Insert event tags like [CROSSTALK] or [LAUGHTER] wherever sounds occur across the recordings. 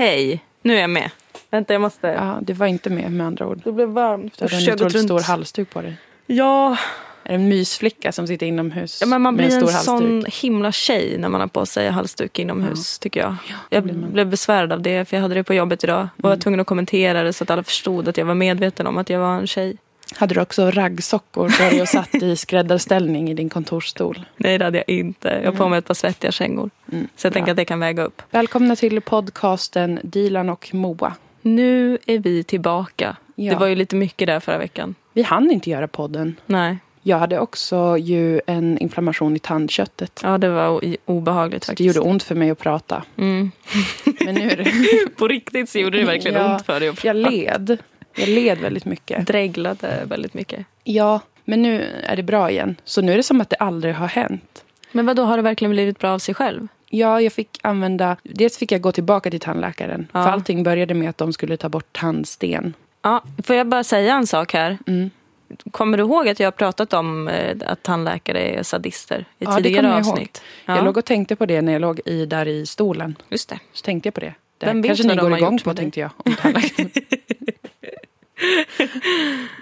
Hej, nu är jag med. Vänta, jag måste... Ja, du var inte med med andra ord. Det blev varmt. Du hade en Jag gått otroligt runt. stor halsduk på dig. Ja, Är det en mysflicka som sitter inomhus ja, men man med blir en en, stor halsduk? sån himla tjej när man har på sig halsduk inomhus, tycker jag. jag blir man. blev besvärad av det, för jag hade det på jobbet idag. Och var tvungen att kommentera det så att alla förstod att jag var medveten om att jag var en tjej. Hade du också raggsockor på dig och satt i skräddarställning i din kontorsstol? Nej, det hade jag inte. Jag har på mig ett par svettiga kängor. Så jag tänker bra. att det kan väga upp. Välkomna till podcasten Dilan och Moa. Nu är vi tillbaka. Ja. Det var ju lite mycket där förra veckan. Vi hann inte göra podden. Nej, Jag hade också ju en inflammation i tandköttet. ja, det var o- obehagligt Så det faktiskt. gjorde ont för mig att prata. Mm. Men nu är [LAUGHS] det... På riktigt så gjorde det verkligen Ja. ont för dig. att- Jag led. Jag led väldigt mycket. Dreglade väldigt mycket. Ja, men nu är det bra igen. Så nu är det som att det aldrig har hänt. Men vad då har det verkligen blivit bra av sig själv? Ja, jag fick använda... Dels fick jag gå tillbaka till tandläkaren. Ja. För allting började med att de skulle ta bort tandsten. Ja, får jag bara säga en sak här? Mm. Kommer du ihåg att jag har pratat om eh, att tandläkare är sadister i Ja, det tidigare kommer jag ihåg. avsnitt? Ja, Jag låg och tänkte på det när jag låg i, där i stolen. just det. Så tänkte jag på det. Det Vem här vet kanske vad ni de går har igång gjort på, med dig? tänkte jag. Om [LAUGHS] tandläkaren. [LAUGHS]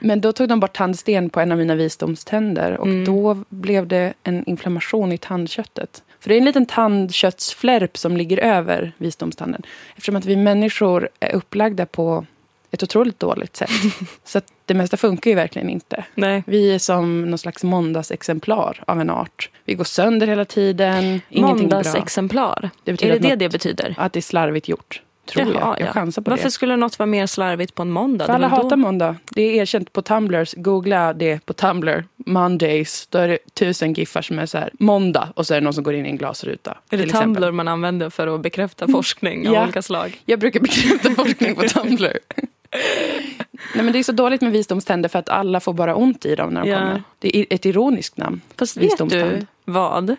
Men då tog de bort tandsten på en av mina visdomständer och Mm. då blev det en inflammation i tandköttet. För det är en liten tandköttsflärp som ligger över visdomstanden. Eftersom att vi människor är upplagda på ett otroligt [LAUGHS] dåligt sätt. Så att det mesta funkar ju verkligen inte. Nej. Vi är som någon slags måndagsexemplar av en art. Vi går sönder hela tiden. Ingenting är bra. Måndagsexemplar. Det Är betyder det att det något- det betyder? Att det är slarvigt gjort. Tror Jaha, jag. Jag ja. chansar på Varför det. skulle något vara mer slarvigt på en måndag? För Det alla var då- hatar måndag. Det är erkänt på Tumblr. Googla det på Tumblr. Mondays. Då är det tusen giffar som är så här. Måndag. Och så är det någon som går in i en glasruta. Är det till exempel. Mm. Tumblr man använder för att bekräfta forskning av Ja. olika slag? Jag brukar bekräfta [LAUGHS] forskning på Tumblr. Nej, men det är så dåligt med visdomständer för att alla får bara ont i dem när de Ja. kommer. Det är ett ironiskt namn. Fast vet Visdomstand. du vad?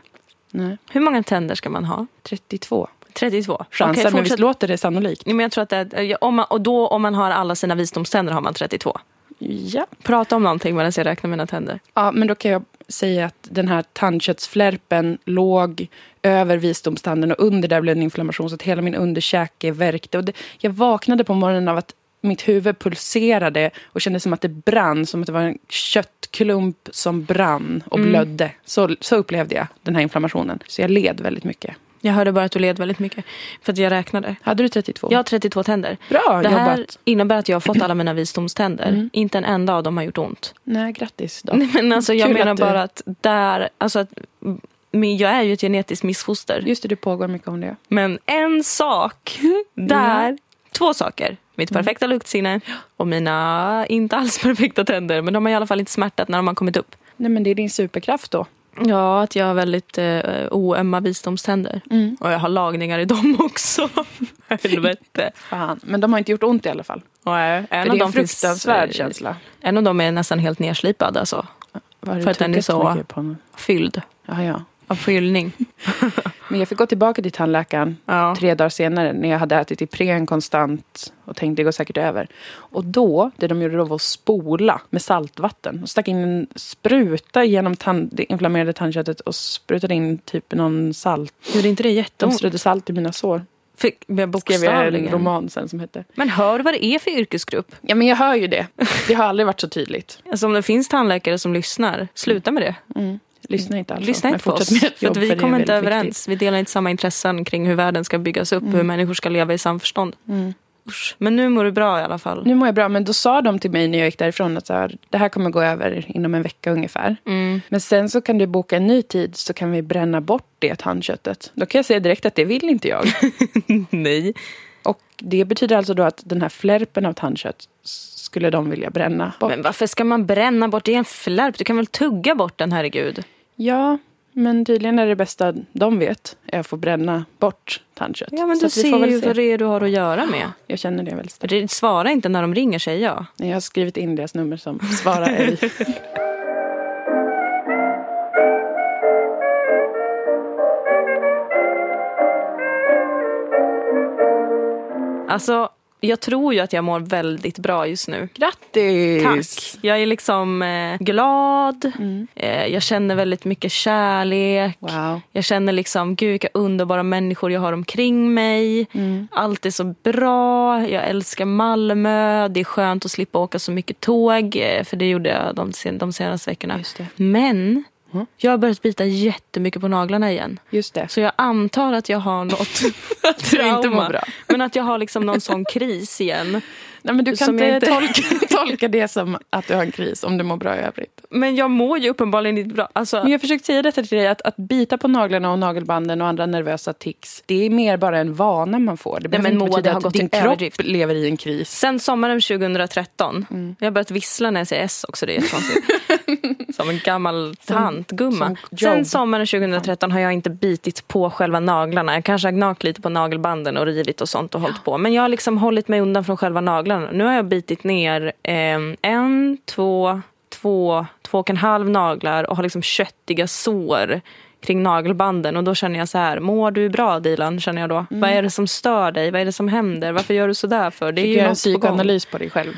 Nej. Hur många tänder ska man ha? 32. 32. Chansar, Okej, men visst fortsätt. låter det sannolikt? Nej, men jag tror att det, är- ja, om man, och då om man har alla sina visdomständer har man 32. Ja. Prata om någonting medan jag räknar mina tänder. Ja, men då kan jag säga att den här tandköttsflärpen låg över visdomstanden och under där blev en inflammation så att hela min underkäke värkte. Och det, jag vaknade på morgonen av att mitt huvud pulserade och kände som att det brann, som att det var en köttklump som brann och blödde. Så, så upplevde jag den här inflammationen. Så jag led väldigt mycket. Jag hörde bara att du led väldigt mycket för att jag räknade. Hade du 32? Jag har 32 tänder. Bra Det här jobbat! innebär att jag har fått alla mina visdomständer. Mm. Inte en enda av dem har gjort ont. Nej, grattis då. Nej, men alltså, jag Kul menar att du- bara att där... Alltså att, men jag är ju ett genetiskt missfoster. Just det, det pågår mycket om det. Mm. Men en [LAUGHS] sak där... Två saker. Mitt perfekta luktsinne och mina inte alls [LAUGHS] perfekta tänder. Men de har i alla fall inte smärtat när de har kommit upp. Nej, men det är din superkraft då. Ja, att jag har väldigt eh, oömma visdomständer. Mm. Och jag har lagningar i dem [LAUGHS] också. Helvete. Fan. Men de har inte gjort ont i alla fall. Nej, en För av det är dem en finns- eh, fruktansvärd känsla. En av dem är nästan helt nerslipad, alltså. Vad har För du att den är tuggat så- mycket på nu? Fylld. Ja, ja. Av fyllning. Men jag fick gå tillbaka till tandläkaren Ja. tre dagar senare när jag hade ätit Ipren konstant och tänkte det går säkert över. Och då, det de gjorde då var att spola med saltvatten och stack in en spruta genom tand, det inflammerade tandköttet och sprutade in typ någon salt. Gjorde inte det De jätteont? strödde salt i mina sår. Mm. Fick jag Skrev jag en Oh. bokstavligen. roman sen som hette. Men hör vad det är för yrkesgrupp. Ja men jag hör [LAUGHS] ju det. Det har aldrig varit så tydligt. Mm. Alltså om det finns tandläkare som lyssnar, sluta med det. Lyssna inte alltså. Lyssna men inte på fortsätt oss. med ert För jobb, att vi det är kommer inte väldigt överens. viktigt. Vi delar inte samma intressen kring hur världen ska byggas upp och hur människor ska leva i samförstånd. Usch. Men nu mår du bra i alla fall. Nu mår jag bra, men då sa de till mig när jag gick därifrån att så här, det här kommer gå över inom en vecka ungefär. Mm. Men sen så kan du boka en ny tid så kan vi bränna bort det tandköttet. Då kan jag säga direkt att det vill [LAUGHS] inte jag. Nej. Och det betyder alltså då att den här flärpen av tandkött skulle de vilja bränna bort. Men varför ska man bränna bort? Det är en flärp. Du kan väl tugga bort den, herregud. Ja, men tydligen är det bästa de vet är att få bränna bort tandkött. Ja, men Så du att vi får ser väl ju se. vad det är du har att göra med. Jag känner det väldigt starkt. Det- Svara inte när de ringer, säger jag. Jag har skrivit in deras nummer som svarar [LAUGHS] ej. Alltså, Jag tror ju att jag mår väldigt bra just nu. Grattis! Tack. Jag är liksom eh, glad. Eh, jag känner väldigt mycket kärlek. Wow. Jag känner liksom, gud vilka underbara människor jag har omkring mig. Allt är så bra. Jag älskar Malmö. Det är skönt att slippa åka så mycket tåg. eh, För det gjorde jag de, sen- de senaste veckorna. Just det. Men jag har börjat bita jättemycket på naglarna igen. Just det. Så jag antar att jag har [LAUGHS] något att du inte mår trauma. bra. Men att jag har liksom någon sån kris igen. Nej, men du kan Som inte, jag Tolka, [LAUGHS] tolka det som att du har en kris om du mår bra i övrigt. Men jag mår ju uppenbarligen inte bra. Alltså, Men jag har försökt säga detta till dig, att, att bita på naglarna och nagelbanden och andra nervösa tics, det är mer bara en vana man får. Det behöver men inte Moa, betyda det har att gått din till kropp överdrift. lever i en kris. Sen sommaren 2013, jag har börjat vissla när jag säger S också, det är jättekonstigt. som en gammal tantgumma. som Job. Sen sommaren 2013 har jag inte bitit på själva naglarna. Jag kanske har gnagt lite på nagelbanden och rivit och sånt och hållit på. Men jag har liksom hållit mig undan från själva naglarna. Nu har jag bitit ner eh, en, två, två, två och en halv naglar och har liksom köttiga sår kring nagelbanden och då känner jag så här, mår du bra Dilan? Känner jag då. Vad är det som stör dig? Vad är det som händer? Varför gör du så där för? Det är Du ju gör en något på gång. psykoanalys på dig själv,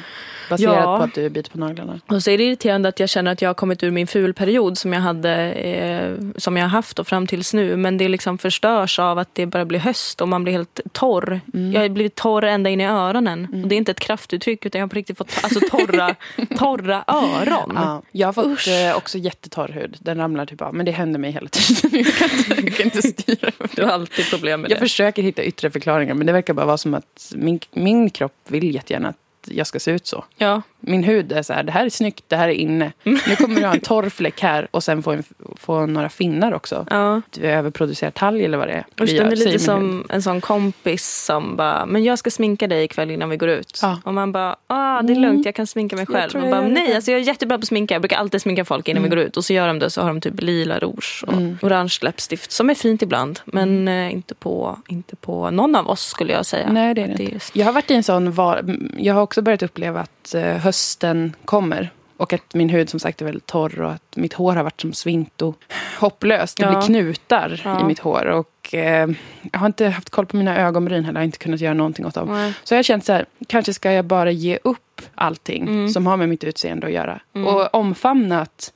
baserat Ja. på att du biter på naglarna. Och så är det irriterande att jag känner att jag har kommit ur min fulperiod som jag hade eh, som jag har haft då fram tills nu. Men det liksom förstörs av att det börjar bli höst och man blir helt torr. Jag har blivit torr ända in i öronen. Och det är inte ett kraftuttryck utan jag har på riktigt fått alltså, torra, [LAUGHS] torra öron. Ja. Jag har fått eh, också jättetorr hud, den ramlar typ av, men det händer mig hela tiden. [LAUGHS] Jag kan inte, jag kan inte styra över Du det. har alltid problem med Jag det. försöker hitta yttre förklaringar, men det verkar bara vara som att min, min kropp vill jättegärna att jag ska se ut så. Ja. Min hud är så här, det här är snyggt, det här är inne. Mm. Nu [LAUGHS] kommer jag ha en torr fläck här och sen få, en, få några finnar också. Ja. Du överproducerar talg eller vad det är. Usch, Vi gör, den är säger lite min hud. som en sån kompis som bara, men jag ska sminka dig ikväll innan vi går ut. Ja. Mm. Och man bara, ah, det är lugnt jag kan sminka mig Jag själv. tror Man jag bara, gör det Mm. nej själv. alltså jag är jättebra på att sminka, jag brukar alltid sminka folk innan vi går ut. Och så gör de det så har de typ lila rouge och Mm. orange läppstift som är fint ibland. Men eh, inte, på, inte på någon av oss skulle jag säga. Nej, det är det Det är inte. just- Jag har varit i en sån var... m, Jag har också börjat uppleva att eh, hösten kommer. Och att min hud som sagt är väldigt torr och att mitt hår har varit som svint och hopplöst. Det Ja. blir knutar Ja. i mitt hår. Och eh, jag har inte haft koll på mina ögonbryn heller. Jag har inte kunnat göra någonting åt dem. Nej. Så jag har känt så här, kanske ska jag bara ge upp allting Mm. som har med mitt utseende att göra. Och omfamna att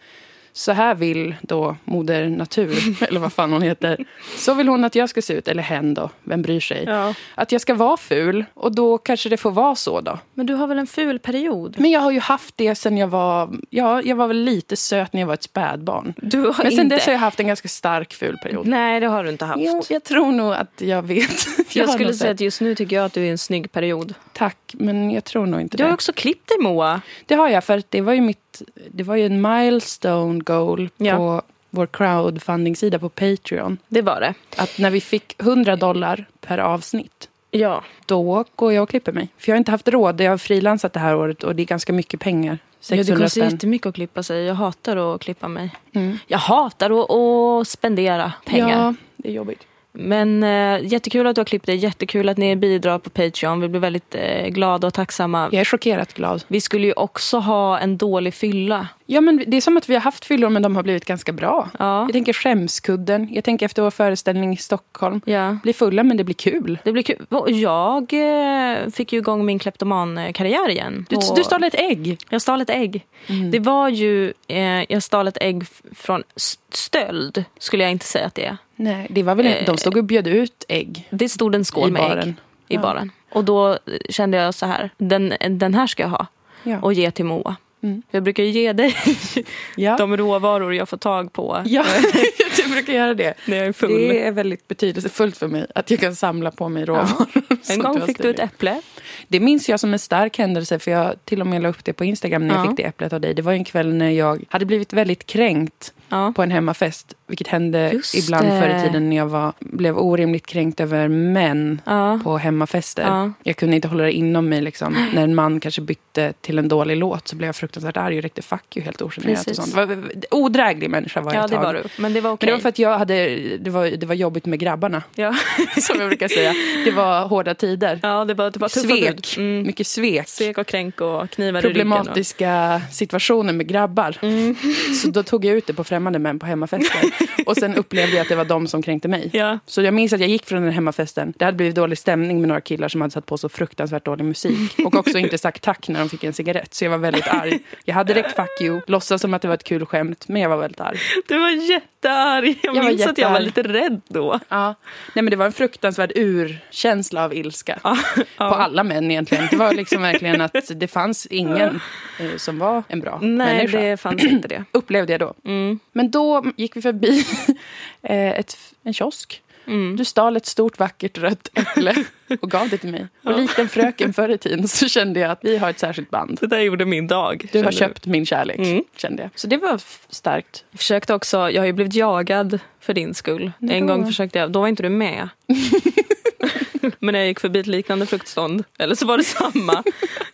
så här vill då moder [LAUGHS] natur, eller vad fan hon heter. Så vill hon att jag ska se ut, eller hen då, vem bryr sig. Ja. Att jag ska vara ful, och då kanske det får vara så då. Men du har väl en ful period? Men jag har ju haft det sen jag var, ja, jag var väl lite söt när jag var ett spädbarn. Du har Men sen inte. dess har jag haft en ganska stark ful period. Nej det har du inte haft. Jo, jag tror nog att jag vet. [LAUGHS] Jag har skulle nog säga sett. att just nu tycker jag att du är i en snygg period. Tack, men jag tror nog inte Du har det. också klippt dig Moa. Det har jag, för att det var ju mitt... Det var ju en milestone goal Ja. på vår crowdfunding-sida på Patreon. Det var det. Att när vi fick 100 dollar per avsnitt, Ja. då går jag och klipper mig. För jag har inte haft råd. Jag har frilansat det här året och det är ganska mycket pengar. Ja, det 600 kostar spänn. jättemycket att klippa sig. Jag hatar att klippa mig. Mm. Jag hatar att, att spendera pengar. Ja, det är jobbigt. Men eh, jättekul att du har klippt det. Jättekul att ni bidrar på Patreon. Vi blir väldigt eh, glada och tacksamma. Jag är chockerat glad. Vi skulle ju också ha en dålig fylla. Ja, men det är som att vi har haft fyllor, men de har blivit ganska bra. Ja. Jag tänker Skämskudden. Jag tänker efter vår föreställning i Stockholm. ja. Bli fulla, men det blir kul. Det blir kul. Och Jag eh, fick ju igång min kleptomankarriär igen. Du, Och- du stal ett ägg. Jag stal ett ägg. Det var ju... Eh, jag stal ett ägg f- från s- stöld, skulle jag inte säga att det är. Nej, det var väl Eh. De stod och bjöd ut ägg. Det stod en skål I med ägg baren. i Ja. baren. Och då kände jag så här, den, den här ska jag ha Ja. och ge till Moa. Mm. Jag brukar ju ge dig [LAUGHS] ja. de råvaror jag får tag på Ja, [LAUGHS] jag brukar göra det. när jag är full. Det är väldigt betydelsefullt för mig att jag kan samla på mig råvaror. som [LAUGHS] En gång har fick du ett stulit. äpple. Det minns jag som en stark händelse, för jag till och med la upp det på Instagram när jag Ja. fick det äpplet av dig. Det var ju en kväll när jag hade blivit väldigt kränkt Ja. på en hemmafest, vilket hände Just ibland det. förr i tiden när jag var, blev orimligt kränkt över män Ja. på hemmafester. Ja. Jag kunde inte hålla det inom mig. Liksom. [GASPS] När en man kanske bytte till en dålig låt så blev jag fruktansvärt arg och räckte fuck you helt ogenerat. Och Precis. sånt. Det var- Odräglig människa var jag ja, ett det tag. var du. Men det var Men det okej. var för att jag hade, det var, det var jobbigt med grabbarna, ja. [LAUGHS] som jag brukar säga. Det var hårda tider. ja, det var, det var tuffa bud. svek, Mm. mycket svek. Svek och kränk och Mm. knivar i ryggen. [LAUGHS] Problematiska situationer med grabbar. Så då tog jag ut det på främmande män på hemmafester. Och sen upplevde jag att det var de som kränkte mig. Ja. Så jag minns att jag gick från den här hemmafesten. Det hade blivit dålig stämning med några killar som hade satt på så fruktansvärt [LAUGHS] dålig musik. Och också inte sagt tack när de fick en cigarett. Så jag var väldigt arg. Jag hade direkt fuck you, låtsas som att det var ett kul skämt, men jag var väldigt arg. Du var jättearg. Jag, Jag var minns att jag var jättearg. lite rädd då. Ja. Nej, men det var en fruktansvärd urkänsla av ilska. På Ja. alla män egentligen. Det var liksom verkligen att det fanns ingen eh, som var en bra Nej, människa. det fanns inte det. Mm. Upplevde jag då. Men då gick vi förbi [LAUGHS] eh, ett, en kiosk. Mm. Du stal ett stort vackert rött äpple och gav det till mig. Och likt en fröken förr i tiden så kände jag att vi har ett särskilt band. Det där gjorde min dag. Du har kände Mm. köpt min kärlek, kände jag. Så det var f- starkt. Jag försökte också, jag har ju blivit jagad för din skull. En gång försökte jag, då var inte du [LAUGHS] med. Men jag gick förbi ett liknande fruktstånd, eller så var det samma.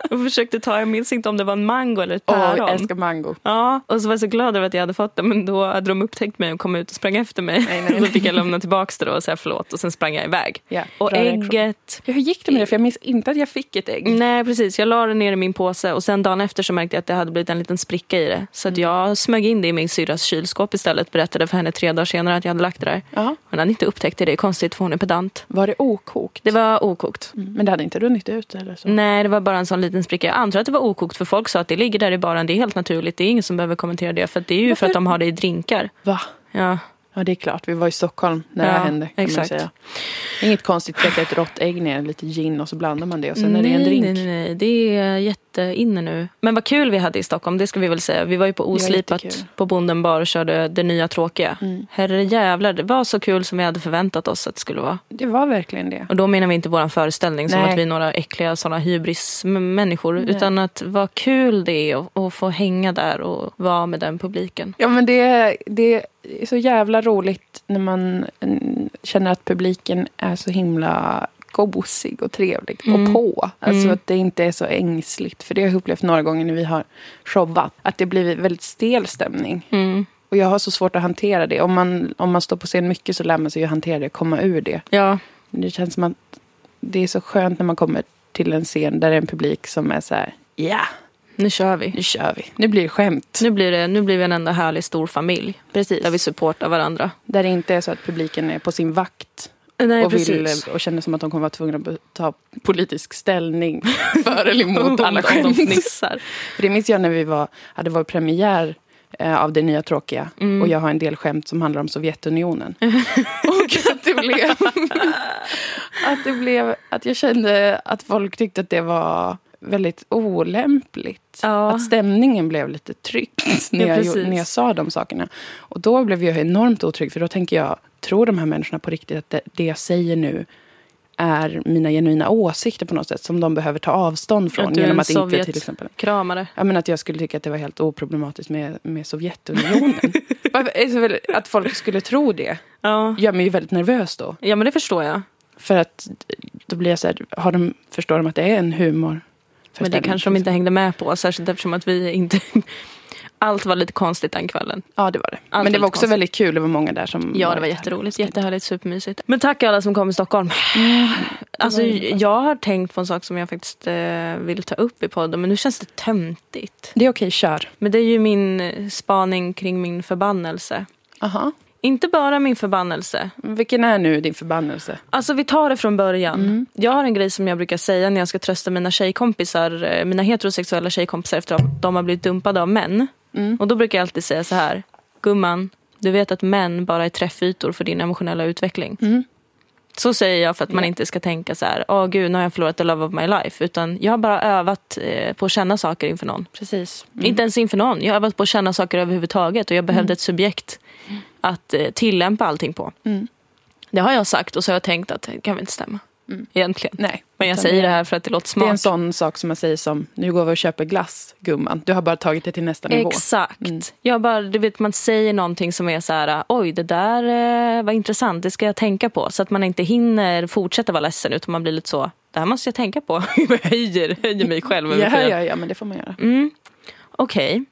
Jag försökte ta, jag minns inte om det var en mango eller ett Åh, päron. jag älskar mango. Ja, och så var jag så glad över att jag hade fått det men då hade de upptäckt mig och kom ut och sprang efter mig. Och [LAUGHS] då fick jag lämna tillbaka det då och säga förlåt och sen sprang jag iväg. Ja, och bra reaktion. ägget. Ja, hur gick det med det? För jag minns inte att jag fick ett ägg. Nej precis, jag la det ner i min påse och sen dagen efter så märkte jag att det hade blivit en liten spricka i det. Så Mm. att jag smög in det i min syrras kylskåp istället. Berättade för henne tre dagar senare att jag hade lagt det där. Ja. Hon hade inte upptäckt det, det är konstigt för hon är pedant. Var det okokt? Mm. Det var Mm. okokt. Men det hade inte runnit ut eller så? Nej, det var bara en sån liten spricka. Jag antar att det var okokt för folk sa att det ligger där i baren, det är helt naturligt. Det är ingen som behöver kommentera det för att det är ju för Varför? att de har det i drinkar. Va? Ja. Ja, det är klart. Vi var i Stockholm när det Ja, här hände. Kan exakt. Man säga. Inget konstigt, tvätta ett rått ägg ner, lite gin och så blandar man det och sen är det en nej, drink. Nej, nej, nej. Det är jätteinne nu. Men vad kul vi hade i Stockholm, det ska vi väl säga. Vi var ju på Det var Oslipat jättekul. på Bonden bar och körde Det nya tråkiga. Mm. Herre jävlar, det var så kul som vi hade förväntat oss att det skulle vara. Det var verkligen det. Och då menar vi inte vår föreställning som Nej. att vi är några äckliga sådana hybrismänniskor. Utan att vad kul det är att, att få hänga där och vara med den publiken. Ja, men det, det är så jävla roligt när man mm, känner att publiken är så himla gosig och trevlig och på. Alltså att det inte är så ängsligt. För det har jag upplevt några gånger när vi har showat. Att det blir väldigt stel stämning. Mm. Och jag har så svårt att hantera det. Om man, om man står på scen mycket så lär man sig ju hantera det och komma ur det. Ja, Men Det känns som att det är så skönt när man kommer till en scen där det är en publik som är så här, ja, nu kör vi. nu kör vi. Nu blir det skämt. Nu blir, det, nu blir vi en enda härlig stor familj Precis. där vi supportar varandra. Där det inte är så att publiken är på sin vakt Nej, och, vill, och känner som att de kommer vara tvungna att be- ta politisk ställning för eller [LAUGHS] emot alla de skämt. fnissar. För det minns jag när vi var, hade vår premiär eh, av Det nya tråkiga Mm. och jag har en del skämt som handlar [LAUGHS] om Sovjetunionen. och att det blev... [LAUGHS] att det blev... Att jag kände att folk tyckte att det var väldigt olämpligt. Ja. Att stämningen blev lite tryckt Ja, när, jag, gjorde- precis. när jag sa de sakerna. Och då blev jag enormt otrygg för då tänker jag, tror de här människorna på riktigt att det, det jag säger nu är mina genuina åsikter på något sätt som de behöver ta avstånd från Att du är genom en att inte Sovjet- till exempel Kramare. Ja, men att jag skulle tycka att det var helt oproblematiskt med, [LAUGHS] med Sovjetunionen. Varför- är det så väl- att folk skulle tro det Ja. gör mig ju väldigt nervös då. ja, men det förstår jag. För att då blir jag så här, har de, förstår de att det är en humor? liksom. Men det kanske de inte hängde med på, särskilt eftersom att vi inte... [LAUGHS] Allt var lite konstigt den kvällen. Ja, det var det. Allt men det var väldigt också konstigt. väldigt kul, det var många där som... Ja, det var jätteroligt. Jättehärligt, supermysigt. Men tack alla som kom i Stockholm. "Mm, Alltså, jag har tänkt på en sak som jag faktiskt eh, vill ta upp i podden, men nu känns det töntigt. Det är okej, kör. Men det är ju min eh, spaning kring min förbannelse. Aha. Inte bara min förbannelse, Vilken är nu din förbannelse? Alltså vi tar det från början. Jag har en grej som jag brukar säga när jag ska trösta mina tjejkompisar, eh, mina heterosexuella tjejkompisar efter att de har blivit dumpade av män. Mm. Och då brukar jag alltid säga så här. Gumman, du vet att män bara är träffytor för din emotionella utveckling. Så säger jag för att man inte ska tänka så här, åh gud nu har jag förlorat the love of my life. Utan jag har bara övat eh, på att känna saker inför någon. Precis. Mm. Inte ens inför någon. Jag har övat på att känna saker överhuvudtaget och jag Mm. behövde ett subjekt att eh, tillämpa allting på. Mm. Det har jag sagt och så har jag tänkt att det kan väl inte stämma. Egentligen. Nej. Men jag Mm. utan säger det här för att det låter Det är en smart. sån sak som man säger som, nu går vi och köper glass, gumman. Du har bara tagit det till nästa nivå. Exakt. Mm. Jag bara, du vet, man säger någonting som är så här, oj det där eh, var intressant, det ska jag tänka på. Så att man inte hinner fortsätta vara ledsen utan man blir lite så, det här måste jag tänka på. [LAUGHS] jag höjer, höjer mig själv. över Ja, skyn. ja, ja, men det får man göra. Mm. Okej.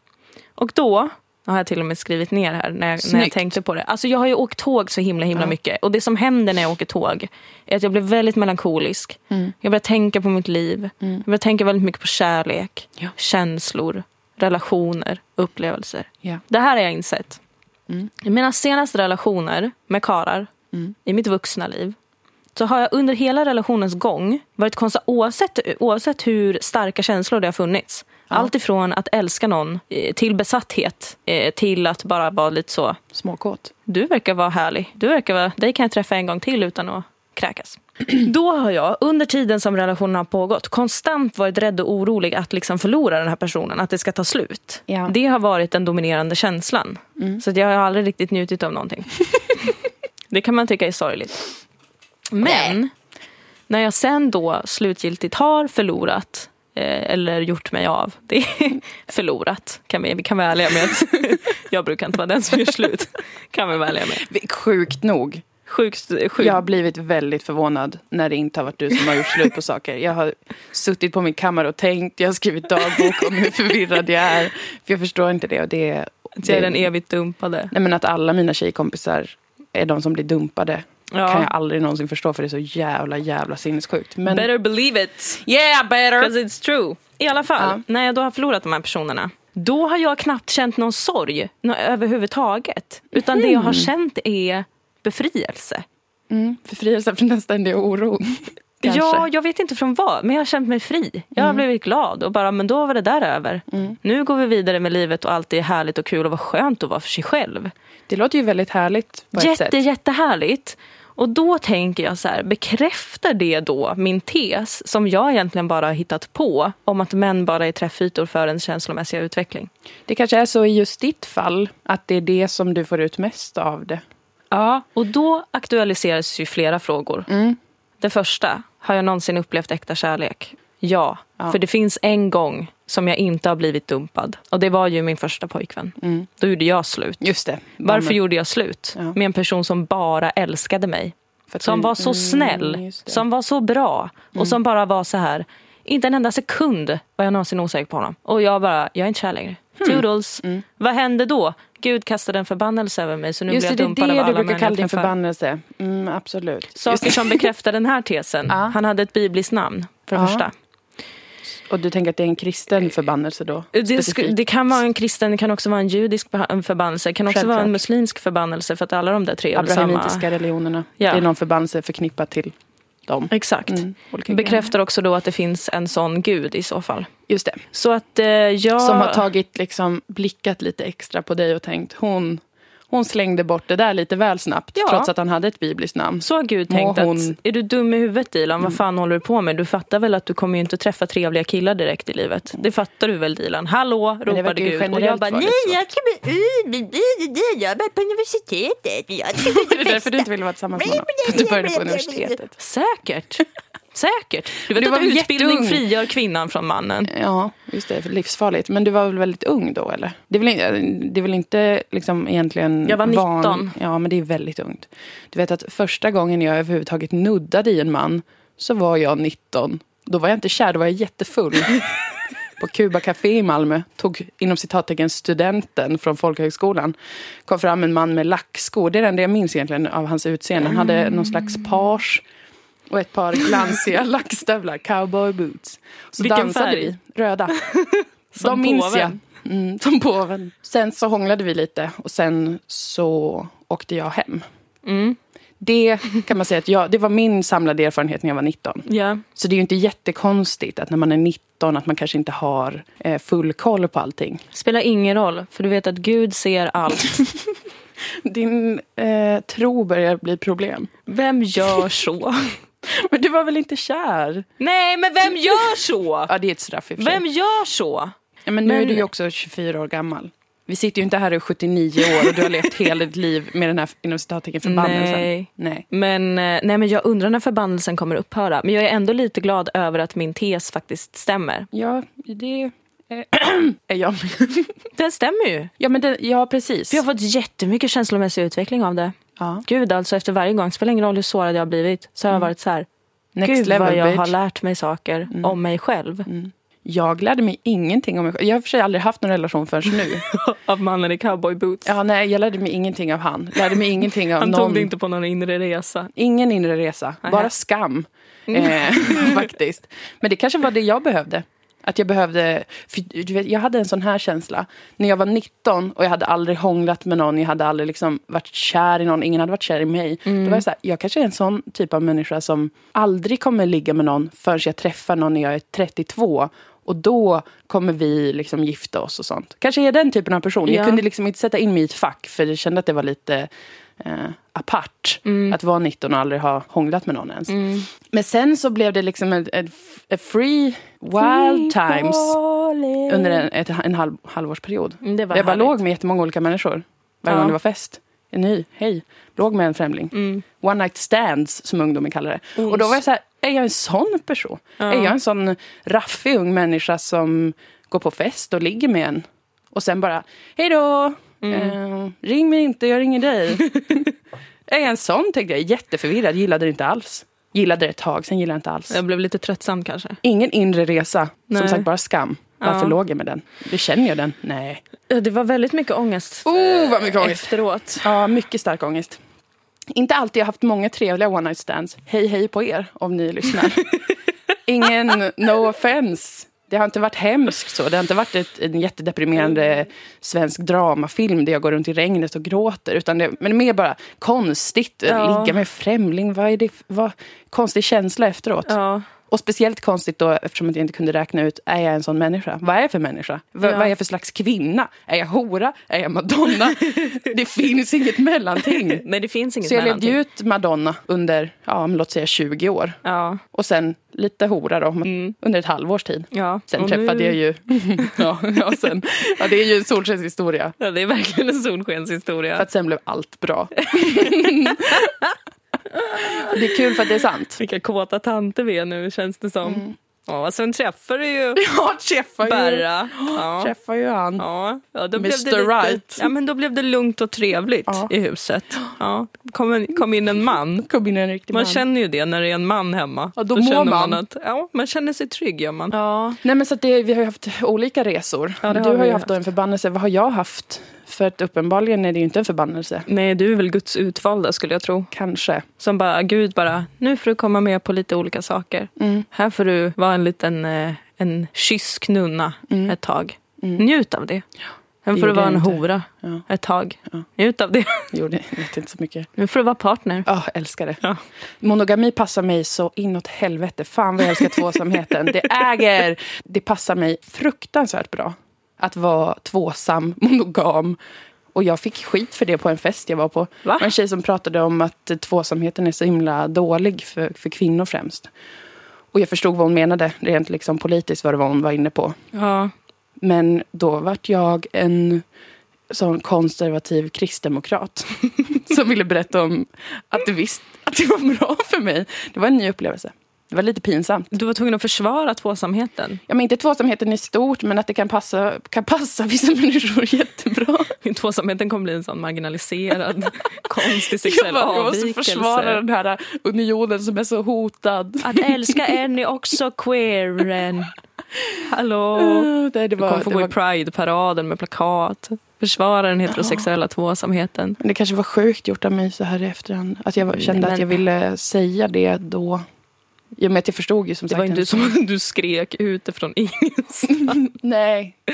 Och då har jag till och med skrivit ner här när jag, när jag Snyggt. tänkte på det. Alltså jag har ju åkt tåg så himla himla mycket. Och det som händer när jag åker tåg är att jag blir väldigt melankolisk. Mm. Jag börjar tänka på mitt liv. Jag börjar tänka väldigt mycket på kärlek, Ja. känslor, relationer, upplevelser. Ja. Det här har jag insett. Mm. I mina senaste relationer med karar Mm. i mitt vuxna liv så har jag under hela relationens gång varit konstant, oavsett, oavsett hur starka känslor det har funnits. Ja. Allt ifrån att älska någon eh, till besatthet eh, till att bara vara lite så. Småkåt. Du verkar vara härlig. Du verkar vara, dig kan jag träffa en gång till utan att kräkas. [CLEARS THROAT] Då har jag under tiden som relationen har pågått konstant varit rädd och orolig att liksom förlora den här personen, att det ska ta slut. Ja. Mm. Det har varit den dominerande känslan. Så att jag har aldrig riktigt njutit av [LAUGHS] någonting. det kan man tycka är sorgligt. Men när jag sen då slutgiltigt har förlorat eh, eller gjort mig av. [LAUGHS] Det är förlorat, kan vi, vi kan vara ärliga med. Att [LAUGHS] jag brukar inte vara den som gör slut. Kan vi vara ärliga med. Sjukt nog. Sjukt, sjukt. Jag har blivit väldigt förvånad när det inte har varit du som har gjort slut på saker. Jag har suttit på min kammare och tänkt, jag har skrivit dagbok om hur förvirrad jag är. För jag förstår inte det. Och det, är- att jag är det- den evigt dumpade. Nej men att alla mina tjejkompisar är de som blir dumpade. Ja. Kan jag aldrig någonsin förstå för det är så jävla jävla sinnessjukt. Men Better believe it. yeah better! Because it's true. I alla fall, när jag då har förlorat de här personerna. Då har jag knappt känt någon sorg nå- överhuvudtaget. Utan det jag Mhm. har känt är befrielse. Mm, Befrielse från den ständiga oron. Kanske. Mhm. Ja, jag vet inte från vad, men jag har känt mig fri. Jag har blivit glad och bara, men då var det där över. Mm. Nu går vi vidare med livet och allt är härligt och kul och vad skönt att vara för sig själv. Det låter ju väldigt härligt på ett Jätte, sätt. jättehärligt. Och då tänker jag så här, bekräftar det då min tes som jag egentligen bara har hittat på om att män bara är träffytor för ens känslomässiga utveckling? Det kanske är så i just ditt fall att det är det som du får ut mest av det. Ja. Och då aktualiseras ju flera frågor. Mm. Det första, har jag någonsin upplevt äkta kärlek? Ja, för det finns en gång som jag inte har blivit dumpad. Och det var ju min första pojkvän. Då gjorde jag slut. Mm. Just det. Varför Men- gjorde jag slut? Ja. Med en person som bara älskade mig. För att Som du- var så Mm, snäll, just det. som var så bra och som bara var så här. Inte en enda sekund var jag någonsin osäker på honom. Och jag bara, jag är inte kär längre. Toodles. Vad hände då? Gud kastade en förbannelse över mig så nu Just blir det, jag det dumpad av är det du alla män brukar jag kalla din träffar. förbannelse. Mm, absolut. Saker Just, som bekräftar den här [LAUGHS] tesen. Ja. Han hade ett bibliskt namn, för det Ja. första. och du tänker att det är en kristen förbannelse då? Det, sku- specifikt? det kan vara en kristen, det kan också vara en judisk beha- en förbannelse. Det kan också Självklart. vara en muslimsk förbannelse för att alla de där tre är väl Abrahamitiska samma. religionerna. Ja. Det är någon förbannelse förknippat till dem. Exakt. Mm, olika grejer. Bekräftar också då att det finns en sån gud i så fall. Just det. Så att eh, jag... Som har tagit, liksom, blickat lite extra på dig och tänkt hon, hon slängde bort det där lite väl snabbt Ja. trots att han hade ett bibliskt namn. Så har Gud Må tänkt hon- att, är du dum i huvudet Dilan, vad fan håller du på med? Du fattar väl att du kommer ju inte träffa trevliga killar direkt i livet? Det fattar du väl Dilan? Hallå, ropade verkar ju Gud. Och jag generellt bara, vara nej lite så. jag kommer Jag har varit på universitetet. Jag ska [LAUGHS] Det är därför du inte ville [LAUGHS] vara tillsammans med honom. För att Du började på universitetet. Säkert. Säkert. Du vet Du var att väl utbildning jätteung. frigör kvinnan från mannen. Ja, just det. Livsfarligt. Men du var väl väldigt ung då, eller? Det är väl, in- det är väl inte liksom egentligen... Jag var 19. Van, ja, men det är väldigt ungt. Du vet att första gången jag överhuvudtaget nuddade i en man så var jag 19. Då var jag inte kär, då var jag jättefull. [LAUGHS] på Cuba Café i Malmö tog inom citattecken studenten från folkhögskolan. Kom fram en man med lackskor. Det är det enda jag minns egentligen av hans utseende. Han hade någon slags page och ett par [LAUGHS] glansiga lackstövlar, cowboy boots. Så Vilken dansade färg? vi, röda. [LAUGHS] som De minns påven. jag. Mm, som påven. Sen så hånglade vi lite och sen så åkte jag hem. Mm. Det kan man säga att jag, det var min samlade erfarenhet när jag var 19. Ja. Så det är ju inte jättekonstigt att när man är 19 att man kanske inte har eh, full koll på allting. Spelar ingen roll, för du vet att Gud ser allt. Din eh, tro börjar bli problem. Vem gör så? Men du var väl inte kär? Nej, men vem gör så? Ja, det är ett straff i och för sig. Vem gör så? Ja, men nu Men- är du ju också 24 år gammal. Vi sitter ju inte här och är 79 år och du [LAUGHS] har levt hela ditt liv med den här inom citattecken förbannelsen. Nej. Nej. Men, eh, nej, men jag undrar när förbannelsen kommer upphöra. Men jag är ändå lite glad över att min tes faktiskt stämmer. Ja, det eh, [CLEARS THROAT] är jag. Den stämmer ju. Ja, men det, ja precis. För jag har fått jättemycket känslomässig utveckling av det. Ja. Gud, alltså efter varje gång, spelar ingen roll hur sårad jag har blivit, så har jag varit så här. Next Gud level, vad jag bitch. har lärt mig saker om mig själv. Jag lärde mig ingenting om mig själv. Jag har i och för sig aldrig haft någon relation [LAUGHS] förrän nu. [LAUGHS] Av mannen i cowboyboots. Ja, nej, jag lärde mig ingenting av han. Lärde mig ingenting av Han någon. tog det inte på någon inre resa. Ingen [LAUGHS] inre resa, bara skam. Eh, faktiskt. Men det kanske var det jag behövde. Att jag behövde... För, du vet, jag hade en sån här känsla när jag var 19 och jag hade aldrig hånglat med någon. Jag hade aldrig liksom varit kär i någon. Ingen hade varit kär i mig. Då var jag så här, jag kanske är en sån typ av människa som aldrig kommer ligga med någon förrän jag träffar någon när jag är 32. Och då kommer vi liksom gifta oss och sånt. Kanske är jag den typen av person. Ja. Jag kunde liksom inte sätta in mig i ett fack för jag kände att det var lite eh, apart att vara 19 och aldrig ha hånglat med någon ens. Mm. Men sen så blev det liksom en, en, en free wild times under en, ett, en halv, halvårsperiod. Mm, det var jag bara härligt. låg med jättemånga olika människor varje Ja. gång det var fest. En ny, hej, låg med en främling. Mm. One night stands som ungdomen kallar det. Och då var jag så här, är jag en sån person? Är jag en sån raffig ung människa som går på fest och ligger med en? Och sen bara, hej då! Eh, ring mig inte, jag ringer dig. [LAUGHS] är jag en sån, tänkte jag. Jätteförvirrad, gillade det inte alls. Gillade det ett tag, sen gillade jag inte alls. Jag blev lite tröttsam kanske. Ingen inre resa. Nej. Som sagt, bara skam. Varför Ja. låg jag med den? Det känner jag den? Nej. Det var väldigt mycket ångest Oh, vad mycket ångest. efteråt. Ja, mycket stark ångest. Inte alltid. Jag har haft många trevliga one night stands. Hej, hej på er om [LAUGHS] ni lyssnar. Ingen no offense. Det har inte varit hemskt så. Det har inte varit ett, en jättedeprimerande svensk dramafilm där jag går runt i regnet och gråter. Utan det, men mer bara konstigt. Ja. Ligga med en främling. Vad är det? f- Vad, konstig känsla efteråt. Ja. Och speciellt konstigt då eftersom jag inte kunde räkna ut, är jag en sån människa? Vad är jag för människa? V- Ja. Vad är jag för slags kvinna? Är jag hora? Är [LAUGHS] jag Madonna? det finns inget mellanting. Nej, det finns inget typ. Så jag levde mellanting. ju ut Madonna under, ja, men låt säga 20 år. Ja, Och sen lite hora då, under ett halvårs tid. ja. Sen Mm. Och träffade nu- jag ju... [LAUGHS] ja, ja, sen, ja, det är ju en solskenshistoria. Ja, det är verkligen en För solskenshistoria. att sen blev [LAUGHS] allt bra. det är kul för att det är sant. Vilka kåta tanter vi är nu känns det som. Ja, sen träffar du ju Ja, träffar ju, Berra. Ja. träffar ju han. Ja, ja, då, Mr. blev det lite, Right. ja, men då blev det lugnt och trevligt Ja. i huset. Ja. Kom, en, kom in en man. kom in en riktig Man man. känner ju det när det är en man hemma. Ja, då mår känner man. man. att ja, man känner sig trygg. Gör man. Ja. Nej, men så att det, vi har ju haft olika resor. Ja, det du har har, vi ju ju haft då en förbannelse. Vad har jag haft? För att uppenbarligen är det ju inte en förbannelse. Nej, du är väl Guds utvalda skulle jag tro. Kanske. Som bara, Gud bara, nu får du komma med på lite olika saker. Mm. Här får du vara en liten eh, en kysk nunna ett tag. Njut av det. Sen Mm. får du det gjorde vara jag en inte. hora Ja. ett tag. Njut av det. [LAUGHS] Gjorde jag vet inte så mycket. Nu får du vara partner. Ja, älskar det. Ja. Monogami passar mig så inåt helvete. Fan vad jag älskar tvåsamheten. Det äger. Det passar mig fruktansvärt bra. Att vara tvåsam, monogam. Och jag fick skit för det på en fest jag var på. Va? Det var en tjej som pratade om att tvåsamheten är så himla dålig för, för kvinnor främst. Och jag förstod vad hon menade, rent liksom politiskt, vad det var hon var inne på. Ja. Men då vart jag en sån konservativ kristdemokrat [LAUGHS] som ville berätta om att det visst att det var bra för mig. Det var en ny upplevelse. Det var lite pinsamt. Du var tvungen att försvara tvåsamheten. [LAUGHS] Ja, men inte tvåsamheten i stort, men att det kan passa, kan passa vissa [LAUGHS] människor jättebra. Tvåsamheten kommer bli en sån [LAUGHS] marginaliserad, konstig Jag, sexuell bara, jag måste avvikelse. försvara den här unionen som är så hotad. Att älska en är också [LAUGHS] queeren. Hallå! Uh, det, det, Du kommer var, få det, gå i var, Pride-paraden med plakat. Försvara den heterosexuella tvåsamheten. det kanske var sjukt gjort av mig så här i efterhand. Att jag var- kände Mm, men- att jag ville säga det då. I och med att jag förstod ju som Det sagt var inte inte. som [LAUGHS] att du skrek utifrån ingenstans. Nej. det